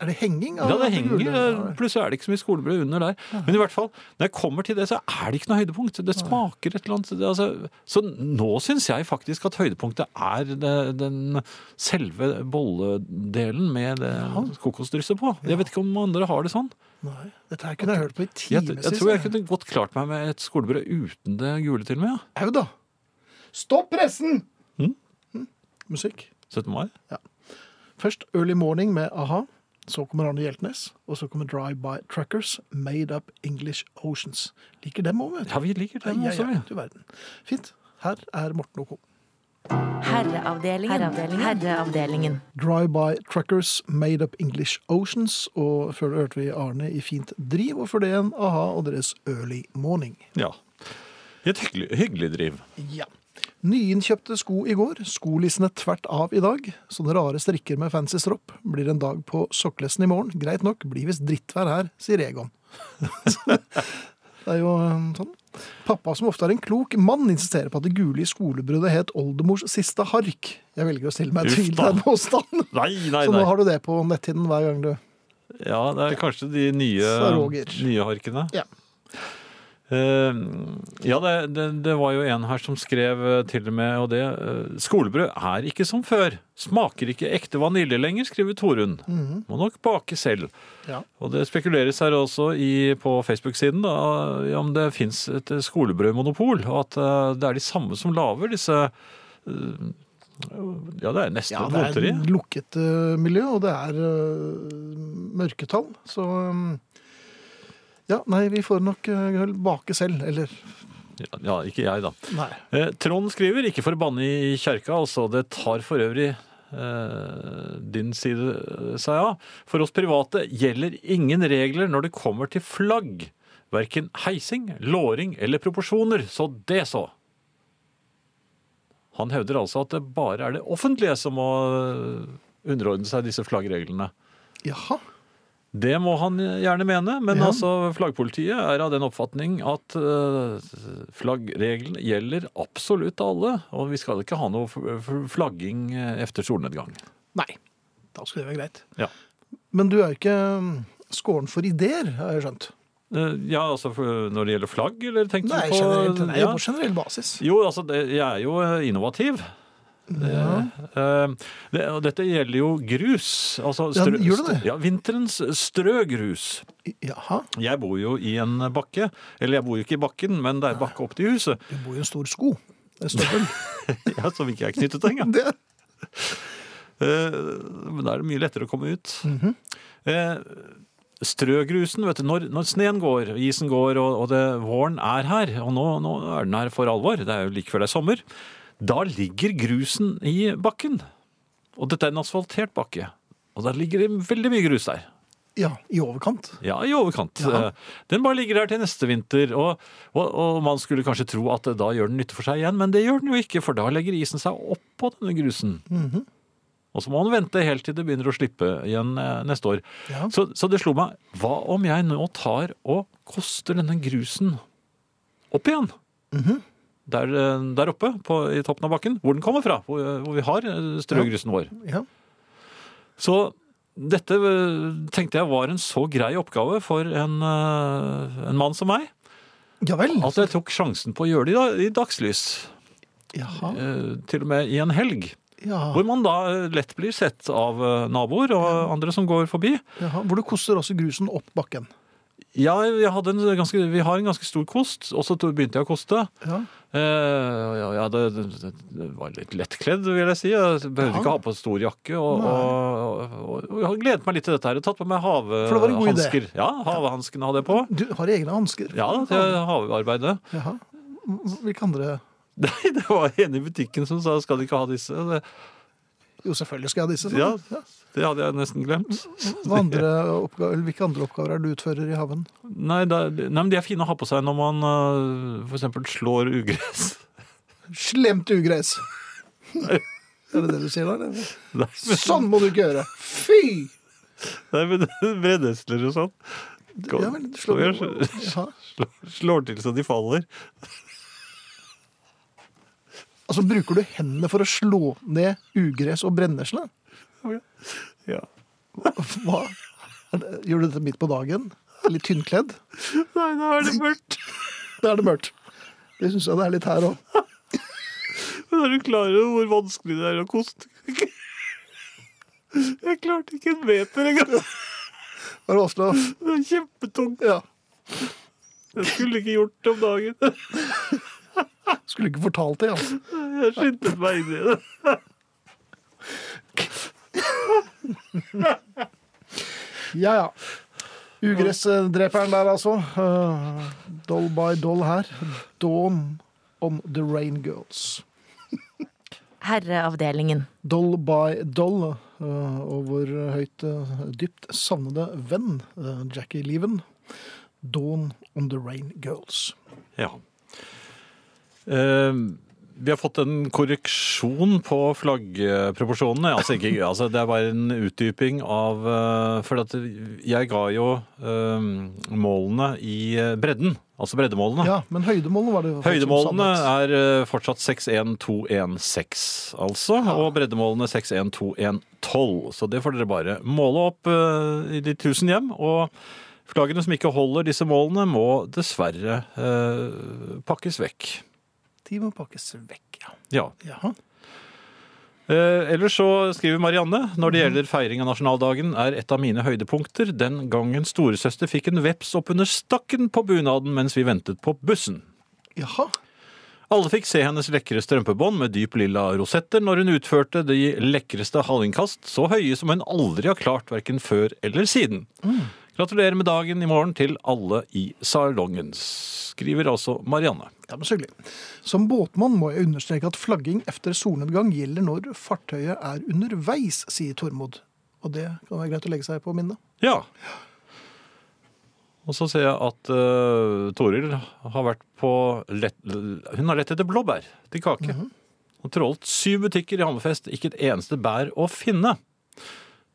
Speaker 2: Er det henging?
Speaker 3: Ja, det
Speaker 2: gule?
Speaker 3: henger, plutselig er det ikke så mye skolebrød under der. Men i hvert fall, når jeg kommer til det, så er det ikke noe høydepunkt. Det smaker et eller annet. Det, altså, så nå syns jeg faktisk at høydepunktet er det, den selve bolledelen med det kokosdrysset på. Jeg vet ikke om andre har det sånn.
Speaker 2: Nei, dette her kunne jeg hørt på i
Speaker 3: Jeg,
Speaker 2: timevis.
Speaker 3: jeg tror jeg kunne godt klart meg med et skolebrød uten det gule til og med. Ja.
Speaker 2: liksom. Au da! Stopp pressen!
Speaker 3: Mm.
Speaker 2: Mm. Musikk.
Speaker 3: 17. mai.
Speaker 2: Først Early Morning med A-ha. Så kommer Arne Hjeltnes. Og så kommer Drive-By Truckers, Made Up English Oceans. Liker dem òg, vet du.
Speaker 3: Ja, vi liker det
Speaker 2: Ja,
Speaker 3: også,
Speaker 2: ja,
Speaker 3: vi.
Speaker 2: du verden. Fint. Her er Morten og co.
Speaker 1: Herreavdelingen. Herreavdelingen. Herreavdelingen.
Speaker 2: Drive-by Truckers Made Up English Oceans. Og før det hørte vi Arne i Fint driv, og for det igjen a-ha og deres Early Morning.
Speaker 3: Ja. I et hyggelig, hyggelig driv.
Speaker 2: Ja. Nyinnkjøpte sko i går, skolissene tvert av i dag. Sånne rare strikker med fancy stropp. Blir en dag på sokkelesten i morgen. Greit nok, blir visst drittvær her, sier Egon. [LAUGHS] det er jo eh, sånn. Pappa, som ofte er en klok mann, insisterer på at det gule i skolebrødet het oldemors siste hark. Jeg velger å stille meg
Speaker 3: Uff
Speaker 2: tvil
Speaker 3: da.
Speaker 2: til den påstanden.
Speaker 3: Nei, nei,
Speaker 2: Så nå
Speaker 3: nei.
Speaker 2: har du det på netthinnen hver gang du
Speaker 3: Ja, det er kanskje de nye,
Speaker 2: Sa Roger.
Speaker 3: nye harkene.
Speaker 2: Ja.
Speaker 3: Eh, ja, det, det, det var jo en her som skrev eh, til og med, og det eh, Skolebrød er ikke som før. Smaker ikke ekte vanilje lenger, skriver Torunn.
Speaker 2: Mhm.
Speaker 3: Må nok bake selv.
Speaker 2: Ja.
Speaker 3: Og det spekuleres her også i, på Facebook-siden da, i om det fins et eh, skolebrødmonopol, og at eh, det er de samme som lager disse eh, Ja, det er nesten
Speaker 2: Ja,
Speaker 3: et
Speaker 2: det er
Speaker 3: voteri.
Speaker 2: et lukket eh, miljø, og det er eh, mørketall. Så eh, Ja, nei, vi får nok eh, bake selv, eller
Speaker 3: Ja, ikke jeg, da.
Speaker 2: Nei.
Speaker 3: Eh, Trond skriver 'ikke for å banne i kjerka', altså. Det tar for øvrig eh, din side seg av. For oss private gjelder ingen regler når det kommer til flagg. Verken heising, låring eller proporsjoner. Så det så. Han hevder altså at det bare er det offentlige som må eh, underordne seg disse flaggreglene.
Speaker 2: Jaha.
Speaker 3: Det må han gjerne mene, men
Speaker 2: Ja.
Speaker 3: altså flaggpolitiet er av den oppfatning at eh, flaggreglene gjelder absolutt alle, og vi skal ikke ha noe f- f- flagging eh, efter solnedgang.
Speaker 2: Nei. Da skulle det være greit.
Speaker 3: Ja.
Speaker 2: Men du er jo ikke mm, skåren for ideer, har jeg skjønt.
Speaker 3: Eh, ja, altså for- når det gjelder flagg, eller tenkte
Speaker 2: Nei,
Speaker 3: du på
Speaker 2: generelt, nei,
Speaker 3: ja.
Speaker 2: på generell basis.
Speaker 3: Jo, altså, det, jeg er jo eh, innovativ. Det, eh, det, og dette gjelder jo grus. Altså,
Speaker 2: Ja, gjør det det?
Speaker 3: Ja, vinterens strø grus.
Speaker 2: Jaha.
Speaker 3: Jeg bor jo i en bakke. Eller jeg bor jo ikke i bakken, men det er bakke opp til huset.
Speaker 2: Du bor i en stor sko. En støvel.
Speaker 3: [LAUGHS] Ja, som ikke er knyttet til engang.
Speaker 2: Det,
Speaker 3: Eh, Men da er det mye lettere å komme ut. Eh, Strøgrusen, vet du, når, når sneen går, isen går, og, og det, våren er her, og nå, nå er den her for alvor, det er jo like før det er sommer, da ligger grusen i bakken. Og dette er en asfaltert bakke. Og der ligger det veldig mye grus der.
Speaker 2: ja, i overkant.
Speaker 3: Ja, i overkant.
Speaker 2: Ja.
Speaker 3: Eh, Den bare ligger der til neste vinter, og, og, og man skulle kanskje tro at da gjør den nytte for seg igjen, men det gjør den jo ikke, for da legger isen seg oppå denne grusen.
Speaker 2: Mhm.
Speaker 3: Og så må man vente helt til det begynner å slippe igjen eh, neste år.
Speaker 2: Ja.
Speaker 3: Så, så det slo meg, hva om jeg nå tar og koster denne grusen opp igjen?
Speaker 2: Mhm.
Speaker 3: der, eh, der oppe på, i toppen av bakken, hvor den kommer fra, hvor, hvor vi har eh, strøgrusen vår.
Speaker 2: Ja.
Speaker 3: Så dette øh, tenkte jeg var en så grei oppgave for en, øh, en mann som meg,
Speaker 2: ja vel.
Speaker 3: at jeg tok sjansen på å gjøre det i da- i dagslys.
Speaker 2: Jaha.
Speaker 3: øh, Til og med i en helg.
Speaker 2: Ja.
Speaker 3: Hvor man da øh, lett blir sett av øh, naboer og andre som går forbi.
Speaker 2: Jaha. Hvor du koster også grusen opp bakken.
Speaker 3: Ja, jeg hadde en ganske, vi har en ganske stor kost, og så to- begynte jeg å koste.
Speaker 2: Ja.
Speaker 3: Eh, ja, ja det, det, det var litt lettkledd, vil jeg si. Jeg behøvde
Speaker 2: Ja.
Speaker 3: ikke ha på stor jakke. Og, og, og, og jeg har gledet meg litt til dette her. Jeg har tatt på meg
Speaker 2: For det var en god idé.
Speaker 3: havehansker. Ja, havehanskene hadde jeg på.
Speaker 2: Du har egne hansker.
Speaker 3: Ja, til havarbeidet.
Speaker 2: Jaha. Hvilke andre
Speaker 3: [LAUGHS] Nei, det var en i butikken som sa 'skal du ikke ha disse'? Det,
Speaker 2: Jo, selvfølgelig skal jeg ha disse.
Speaker 3: ja,
Speaker 2: sånn.
Speaker 3: det hadde jeg nesten glemt.
Speaker 2: Hva andre oppgaver, eller hvilke andre oppgaver er det du utfører i haven?
Speaker 3: Nei, da, nei, men de er fine å ha på seg når man øh, for eksempel slår ugress. [LAUGHS]
Speaker 2: Slemt ugress! er det det du sier der? eller?
Speaker 3: Nei, men-
Speaker 2: Sånn må du ikke gjøre! Fy!
Speaker 3: Nei, men [LAUGHS] breddesler og sånn. Kom,
Speaker 2: Ja vel, du slår
Speaker 3: kom igjen, [LAUGHS]
Speaker 2: Jaha.
Speaker 3: slår, slår til så de faller.
Speaker 2: Altså, Bruker du hendene for å slå ned ugress og brennesle?
Speaker 3: Ja.
Speaker 2: Hva? Er det- Gjør du dette midt på dagen? Litt tynnkledd?
Speaker 3: Nei, da er det mørkt.
Speaker 2: Da er det mørkt. Det syns jeg det er litt her òg.
Speaker 3: Men er du klar over hvor vanskelig det er å koste? [LAUGHS] Jeg klarte ikke en meter engang.
Speaker 2: Var det vanskelig å
Speaker 3: Det er kjempetungt.
Speaker 2: Ja.
Speaker 3: Jeg skulle ikke gjort det om dagen.
Speaker 2: Skulle ikke fortalt det, altså.
Speaker 3: Jeg skyndte meg inn i det.
Speaker 2: Ja, ja. Ugressdreperen der, altså. Eh, doll by doll her. Dawn on the Rain Girls.
Speaker 1: Herreavdelingen.
Speaker 2: Doll by doll, eh, og vår høyt eh, dypt savnede venn eh, Jackie Leven. Dawn on the Rain Girls.
Speaker 3: Ja. Eh, vi har fått en korreksjon på flaggproporsjonene. Altså, ikke, altså, det er bare en utdyping av eh, For at jeg ga jo eh, målene i eh, bredden. Altså breddemålene.
Speaker 2: Ja, men høydemålene var det folk som
Speaker 3: Høydemålene
Speaker 2: savnet.
Speaker 3: er eh, fortsatt 61216, altså. Og breddemålene 612112. Så det får dere bare måle opp eh, i de tusen hjem. Og flaggene som ikke holder disse målene, må dessverre eh, pakkes vekk.
Speaker 2: De må pakkes vekk, ja.
Speaker 3: Ja.
Speaker 2: Jaha.
Speaker 3: Eh, ellers så skriver Marianne når
Speaker 2: Mhm.
Speaker 3: det gjelder feiring av nasjonaldagen, er et av mine høydepunkter den gangen storesøster fikk en veps oppunder stakken på bunaden mens vi ventet på bussen.
Speaker 2: Jaha.
Speaker 3: Alle fikk se hennes lekre strømpebånd med dyp lilla rosetter når hun utførte de lekreste hallinnkast, så høye som hun aldri har klart verken før eller siden. Gratulerer med dagen i morgen til alle i salongen, skriver altså Marianne.
Speaker 2: Ja, men så hyggelig. Som båtmann må jeg understreke at flagging efter solnedgang gjelder når fartøyet er underveis, sier Tormod. Og det kan være greit å legge seg på minnet.
Speaker 3: Ja. Og så ser jeg at uh, Toril har vært på lett, Hun har lett etter blåbær til kake.
Speaker 2: Mhm.
Speaker 3: Og trålt syv butikker i Hammerfest, ikke et eneste bær å finne.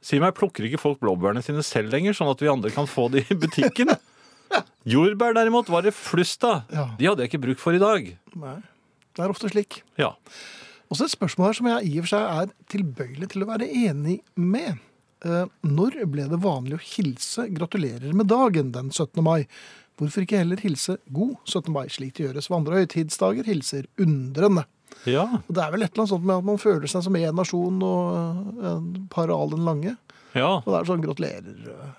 Speaker 3: Si meg, plukker ikke folk blåbærene sine selv lenger, sånn at vi andre kan få de i
Speaker 2: [LAUGHS]
Speaker 3: butikken? Jordbær derimot var det flust av.
Speaker 2: Ja.
Speaker 3: De hadde jeg ikke bruk for i dag.
Speaker 2: Nei, det er ofte slik.
Speaker 3: Ja.
Speaker 2: Og så et spørsmål her som jeg i og for seg er tilbøyelig til å være enig med. Eh, Når ble det vanlig å hilse 'gratulerer med dagen' den 17. mai? Hvorfor ikke heller hilse 'god 17. mai', slik det gjøres ved andre høytidsdager? Hilser undrende.
Speaker 3: ja.
Speaker 2: Og Det er vel et eller annet sånt med at man føler seg som én nasjon og eh, en par al den lange.
Speaker 3: Ja.
Speaker 2: Og det er sånn 'gratulerer' eh,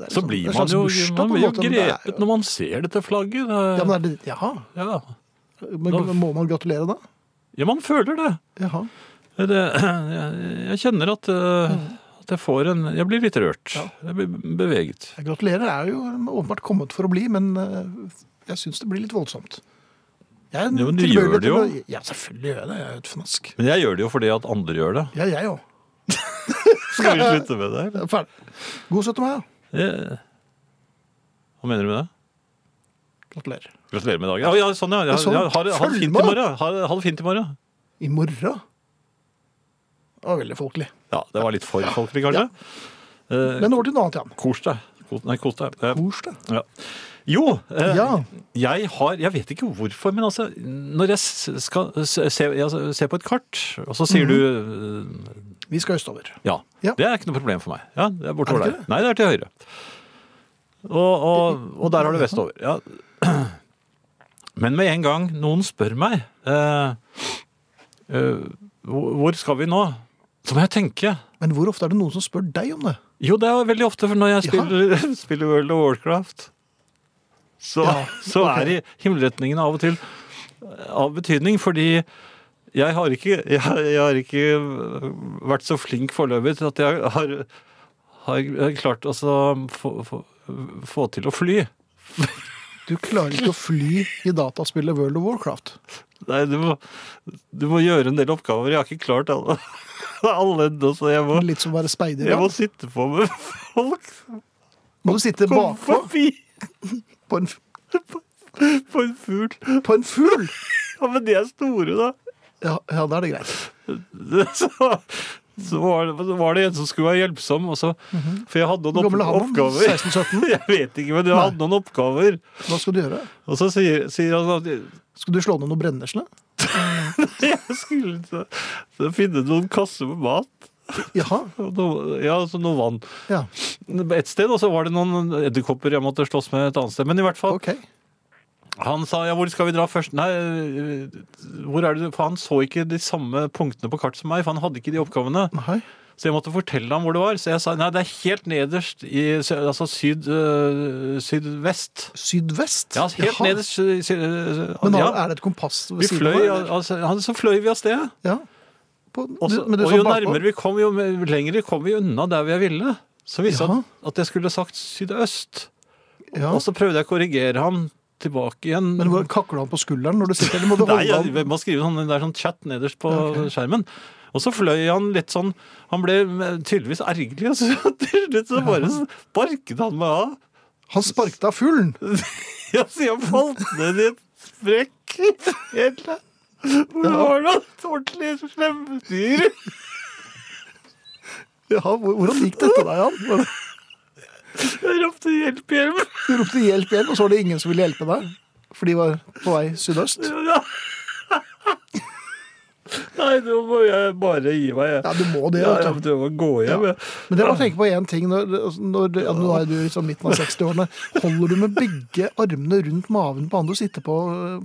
Speaker 2: det er
Speaker 3: Så
Speaker 2: liksom- det er
Speaker 3: blir
Speaker 2: en
Speaker 3: man
Speaker 2: slags
Speaker 3: jo,
Speaker 2: bursdag
Speaker 3: man
Speaker 2: på en
Speaker 3: blir jo
Speaker 2: måte, men det er
Speaker 3: grepet når man ser dette flagget.
Speaker 2: ja,
Speaker 3: Det,
Speaker 2: men er det, jaha,
Speaker 3: ja.
Speaker 2: men må man gratulere da?
Speaker 3: ja, man føler det.
Speaker 2: Jaha.
Speaker 3: Det, [CLEARS THROAT] jeg, jeg kjenner at, eh,
Speaker 2: Mm.
Speaker 3: at jeg får en Jeg blir litt rørt. Jeg blir beveget.
Speaker 2: Ja, Gratulerer er jo åpenbart kommet for å bli, men eh, jeg syns det blir litt voldsomt. Jeg er
Speaker 3: Jo, men du
Speaker 2: tilbøyelig
Speaker 3: gjør det
Speaker 2: til
Speaker 3: jo.
Speaker 2: å- Ja, selvfølgelig gjør jeg det. Jeg er jo et fnask.
Speaker 3: Men jeg gjør det jo fordi at andre gjør det.
Speaker 2: Ja, jeg òg.
Speaker 3: [LAUGHS] Skal vi
Speaker 2: [LAUGHS]
Speaker 3: slutte med [LAUGHS] det? eller?
Speaker 2: Ferdig. God 17. mai, da.
Speaker 3: Eh, Hva mener du med det?
Speaker 2: Gratulerer.
Speaker 3: Gratulerer med dagen. Ja, ja, sånn, ja. ja,
Speaker 2: Ja, sånn.
Speaker 3: ja ha, det- ha det
Speaker 2: Følg
Speaker 3: fint i
Speaker 2: med.
Speaker 3: morgen. Ha, det- ha det fint i morgen.
Speaker 2: I morgen. Det var veldig folkelig.
Speaker 3: Ja, det var litt for folkelig, kanskje. Eh,
Speaker 2: Men over til noe annet, Jan.
Speaker 3: kos deg. Kos- Nei, kos deg. Eh,
Speaker 2: Bursdag.
Speaker 3: Ja. Jo, eh,
Speaker 2: Ja.
Speaker 3: jeg har Jeg vet ikke hvorfor, men altså Når jeg s- skal s- se, jeg ser på et kart, og så
Speaker 2: Mhm.
Speaker 3: sier du eh,
Speaker 2: Vi skal østover.
Speaker 3: Ja.
Speaker 2: Ja.
Speaker 3: Det er ikke noe problem for meg. Ja, det er bortover
Speaker 2: Er det
Speaker 3: der. Nei, det er til høyre. Og, og, og der har du vestover. Ja. [CLEARS THROAT] Men med en gang noen spør meg eh, eh, hvor hvor skal vi nå, så må jeg tenke.
Speaker 2: Men hvor ofte er det noen som spør deg om det?
Speaker 3: Jo, det er veldig ofte for når jeg spiller, [LAUGHS] spiller World of Warcraft. Så,
Speaker 2: Ja,
Speaker 3: så er i himmelretningene av og til eh, av betydning, fordi jeg har ikke, jeg, jeg har ikke vært så flink foreløpig til at jeg har, har klart å så få, få, få til å fly.
Speaker 2: Du klarer ikke å fly i dataspillet World of Warcraft.
Speaker 3: Nei, du må, du må gjøre en del oppgaver. Jeg har ikke klart alle, [LAUGHS] alle ennå, så jeg må,
Speaker 2: Litt som å være speider.
Speaker 3: jeg
Speaker 2: da.
Speaker 3: må sitte på med folk.
Speaker 2: Må du sitte
Speaker 3: Kom
Speaker 2: bakpå
Speaker 3: forbi
Speaker 2: på en,
Speaker 3: på en fugl.
Speaker 2: på en fugl?
Speaker 3: [LAUGHS] Ja, men de er store, da. [LAUGHS]
Speaker 2: Ja, ja, da er det greit.
Speaker 3: Så, så, var det, så var det en som skulle være hjelpsom. Og så, for jeg hadde noen
Speaker 2: Mhm. Hvor gammel er
Speaker 3: opp,
Speaker 2: han?
Speaker 3: oppgaver. [LAUGHS]
Speaker 2: 16-17?
Speaker 3: Jeg vet ikke, men jeg hadde noen oppgaver.
Speaker 2: Hva skal du gjøre?
Speaker 3: Og så sier, sier han at [LAUGHS]
Speaker 2: Skal du slå ned noen brennesle?
Speaker 3: jeg skulle til- til å finne noen kasser med mat.
Speaker 2: Jaha.
Speaker 3: Og noe, ja, altså noe vann.
Speaker 2: Ja,
Speaker 3: Et sted, og så var det noen edderkopper jeg måtte slåss med et annet sted. Men i hvert fall,
Speaker 2: ok.
Speaker 3: han sa ja, hvor skal vi dra først? Nei, øh, hvor er det? For han så ikke de samme punktene på kart som meg, for han hadde ikke de oppgavene.
Speaker 2: Nei.
Speaker 3: Så jeg måtte fortelle ham hvor det var. Så jeg sa nei, det er helt nederst i sø- altså syd, øh, sydvest.
Speaker 2: Sydvest?
Speaker 3: Ja, helt
Speaker 2: Jaha.
Speaker 3: nederst. øh, syd- øh,
Speaker 2: Men har,
Speaker 3: ja.
Speaker 2: er det et kompass ved
Speaker 3: Vi
Speaker 2: siden
Speaker 3: fløy,
Speaker 2: av? eller?
Speaker 3: altså, han- så fløy vi av sted.
Speaker 2: Ja. På,
Speaker 3: Og så-
Speaker 2: du- men du
Speaker 3: og
Speaker 2: sa
Speaker 3: jo
Speaker 2: bakpå.
Speaker 3: nærmere vi kom, jo mer- lengre kom vi unna der vi ville. Så visste
Speaker 2: Jaha.
Speaker 3: han at jeg skulle sagt sydøst.
Speaker 2: ja.
Speaker 3: Og så prøvde jeg å korrigere ham tilbake igjen.
Speaker 2: Men hvor kakler han på skulderen når du sitter,
Speaker 3: [LAUGHS]
Speaker 2: eller må du
Speaker 3: Nei,
Speaker 2: holde
Speaker 3: jeg,
Speaker 2: han?
Speaker 3: jeg må skrive sånn, det er sånn chat nederst på skjermen. Og så fløy han litt sånn Han ble tydeligvis ergerlig, altså. [LAUGHS] og så til slutt så bare sparket han meg av.
Speaker 2: Han sparket av fuglen!
Speaker 3: Ja, så jeg falt ned i en sprekk. Helt der. Hvor det var noen ordentlig slemme dyr.
Speaker 2: Ja, hvor- hvordan gikk dette deg, Jan? Var det-
Speaker 3: Jeg ropte 'hjelp, hjelp'.
Speaker 2: Du ropte hjelp hjelp, og så var det ingen som ville hjelpe deg? For de var på vei sydøst?
Speaker 3: Ja. Nei, nå må jeg bare gi meg. Jeg.
Speaker 2: Ja, du må det.
Speaker 3: Ja,
Speaker 2: vet du.
Speaker 3: jeg prøver å gå hjem. jeg.
Speaker 2: Men jeg må tenke på én ting. Når, når, ja, nå er du i sånn midten av 60-årene. Holder du med begge armene rundt maven på han du sitter på,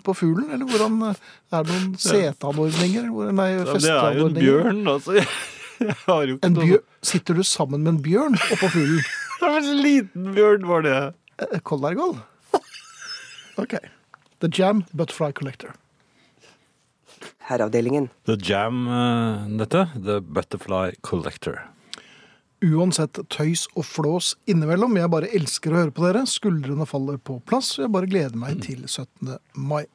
Speaker 2: på fuglen? Eller hvordan er det noen seteanordninger? Hvor- Nei,
Speaker 3: Ja, men Det er jo en
Speaker 2: festeanordninger.
Speaker 3: bjørn, altså. [LAUGHS] Jeg, jeg har jo ikke
Speaker 2: En
Speaker 3: noe- sånn-
Speaker 2: bjørn? Sitter du sammen med en bjørn oppå fuglen?
Speaker 3: Det var en liten bjørn, var det.
Speaker 2: Eh,
Speaker 3: [LAUGHS]
Speaker 2: Koldergold? OK. The Jam Butterfly Collector.
Speaker 5: Herreavdelingen.
Speaker 3: The Jam, eh, dette. The Butterfly Collector.
Speaker 2: uansett tøys og flås innimellom. Jeg bare elsker å høre på dere. Skuldrene faller på plass, og jeg bare gleder meg til 17. mai.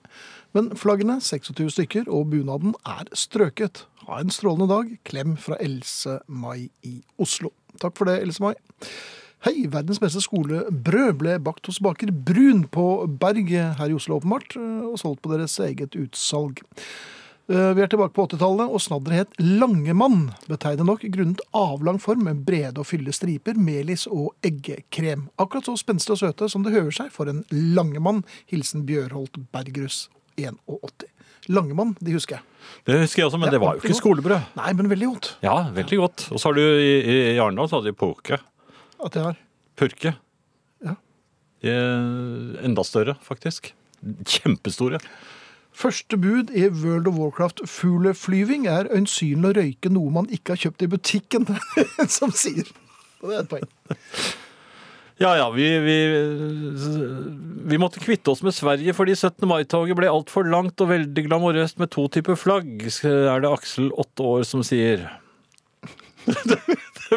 Speaker 2: Men flaggene, 26 stykker, og bunaden er strøket. Ha en strålende dag. Klem fra Else Mai i Oslo. Takk for det, Else Mai. Hei, verdens beste skolebrød ble bakt hos baker Brun på Berg her i Oslo, åpenbart, og solgt på deres eget utsalg. Eh, Vi er tilbake på 80-tallet, og snadderet het Langemann, betegnet nok grunnet avlang form med brede og fylle striper, melis og eggekrem. Akkurat så spenstig og søte som det høver seg for en Langemann. Hilsen Bjørholt Bergerus, 81. Langemann, de husker jeg.
Speaker 3: Det husker jeg også, men
Speaker 2: Ja,
Speaker 3: det var jo
Speaker 2: ordentlig
Speaker 3: ikke skolebrød.
Speaker 2: Nei, men veldig godt
Speaker 3: Ja, veldig godt. Og så har du i, i- i Arendal så hadde de poke.
Speaker 2: at jeg har.
Speaker 3: Purke.
Speaker 2: Ja.
Speaker 3: Eh, enda større, faktisk. Kjempestore.
Speaker 2: Første bud i World of Warcraft-fugleflyving er øyensynlig å røyke noe man ikke har kjøpt i butikken, [LAUGHS] som sier. Og det er et poeng.
Speaker 3: Ja ja, vi, vi, vi måtte kvitte oss med Sverige fordi 17. mai-toget ble altfor langt og veldig glamorøst med to typer flagg, er det Aksel, åtte år, som sier. [LAUGHS] det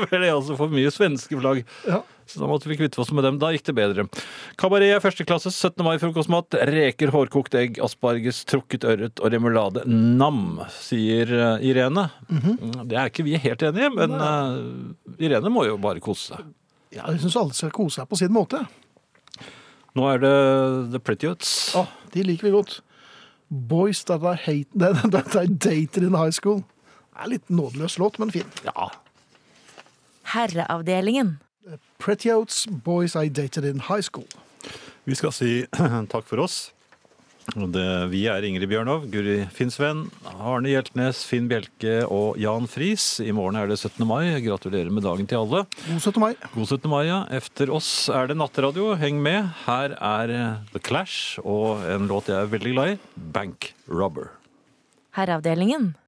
Speaker 3: ble altså for mye svenske flagg.
Speaker 2: Ja.
Speaker 3: Så da måtte vi kvitte oss med dem. Da gikk det bedre. Kabaret er førsteklasses 17. mai-frokostmat. Reker, hårkokt egg, asparges, trukket ørret og remulade. Nam, sier eh, Irene. Det er ikke vi helt enige i, men eh, Irene må jo bare kose seg.
Speaker 2: Ja, jeg syns alle skal kose seg på sin måte.
Speaker 3: Nå er det The Prettyuts.
Speaker 2: Å, de liker vi godt. Boys that I, hate, [LAUGHS] that, that I dated in high school. Det er litt nådeløs låt, men fin.
Speaker 3: Ja.
Speaker 1: Herreavdelingen.
Speaker 2: Pretty Outs, Boys I Dated in High School.
Speaker 3: Vi skal si [CLEARS THROAT] takk for oss. Og Det, vi er Ingrid Bjørnov, Guri Finnsven, Arne Hjeltnes, Finn Bjelke og Jan Friis. I morgen er det 17. mai. Gratulerer med dagen til alle.
Speaker 2: God 17. mai.
Speaker 3: God 17. mai, ja. Efter oss er det nattradio. Heng med. Her er eh, The Clash og en låt jeg er veldig glad i, Bank Rubber.
Speaker 1: Herreavdelingen.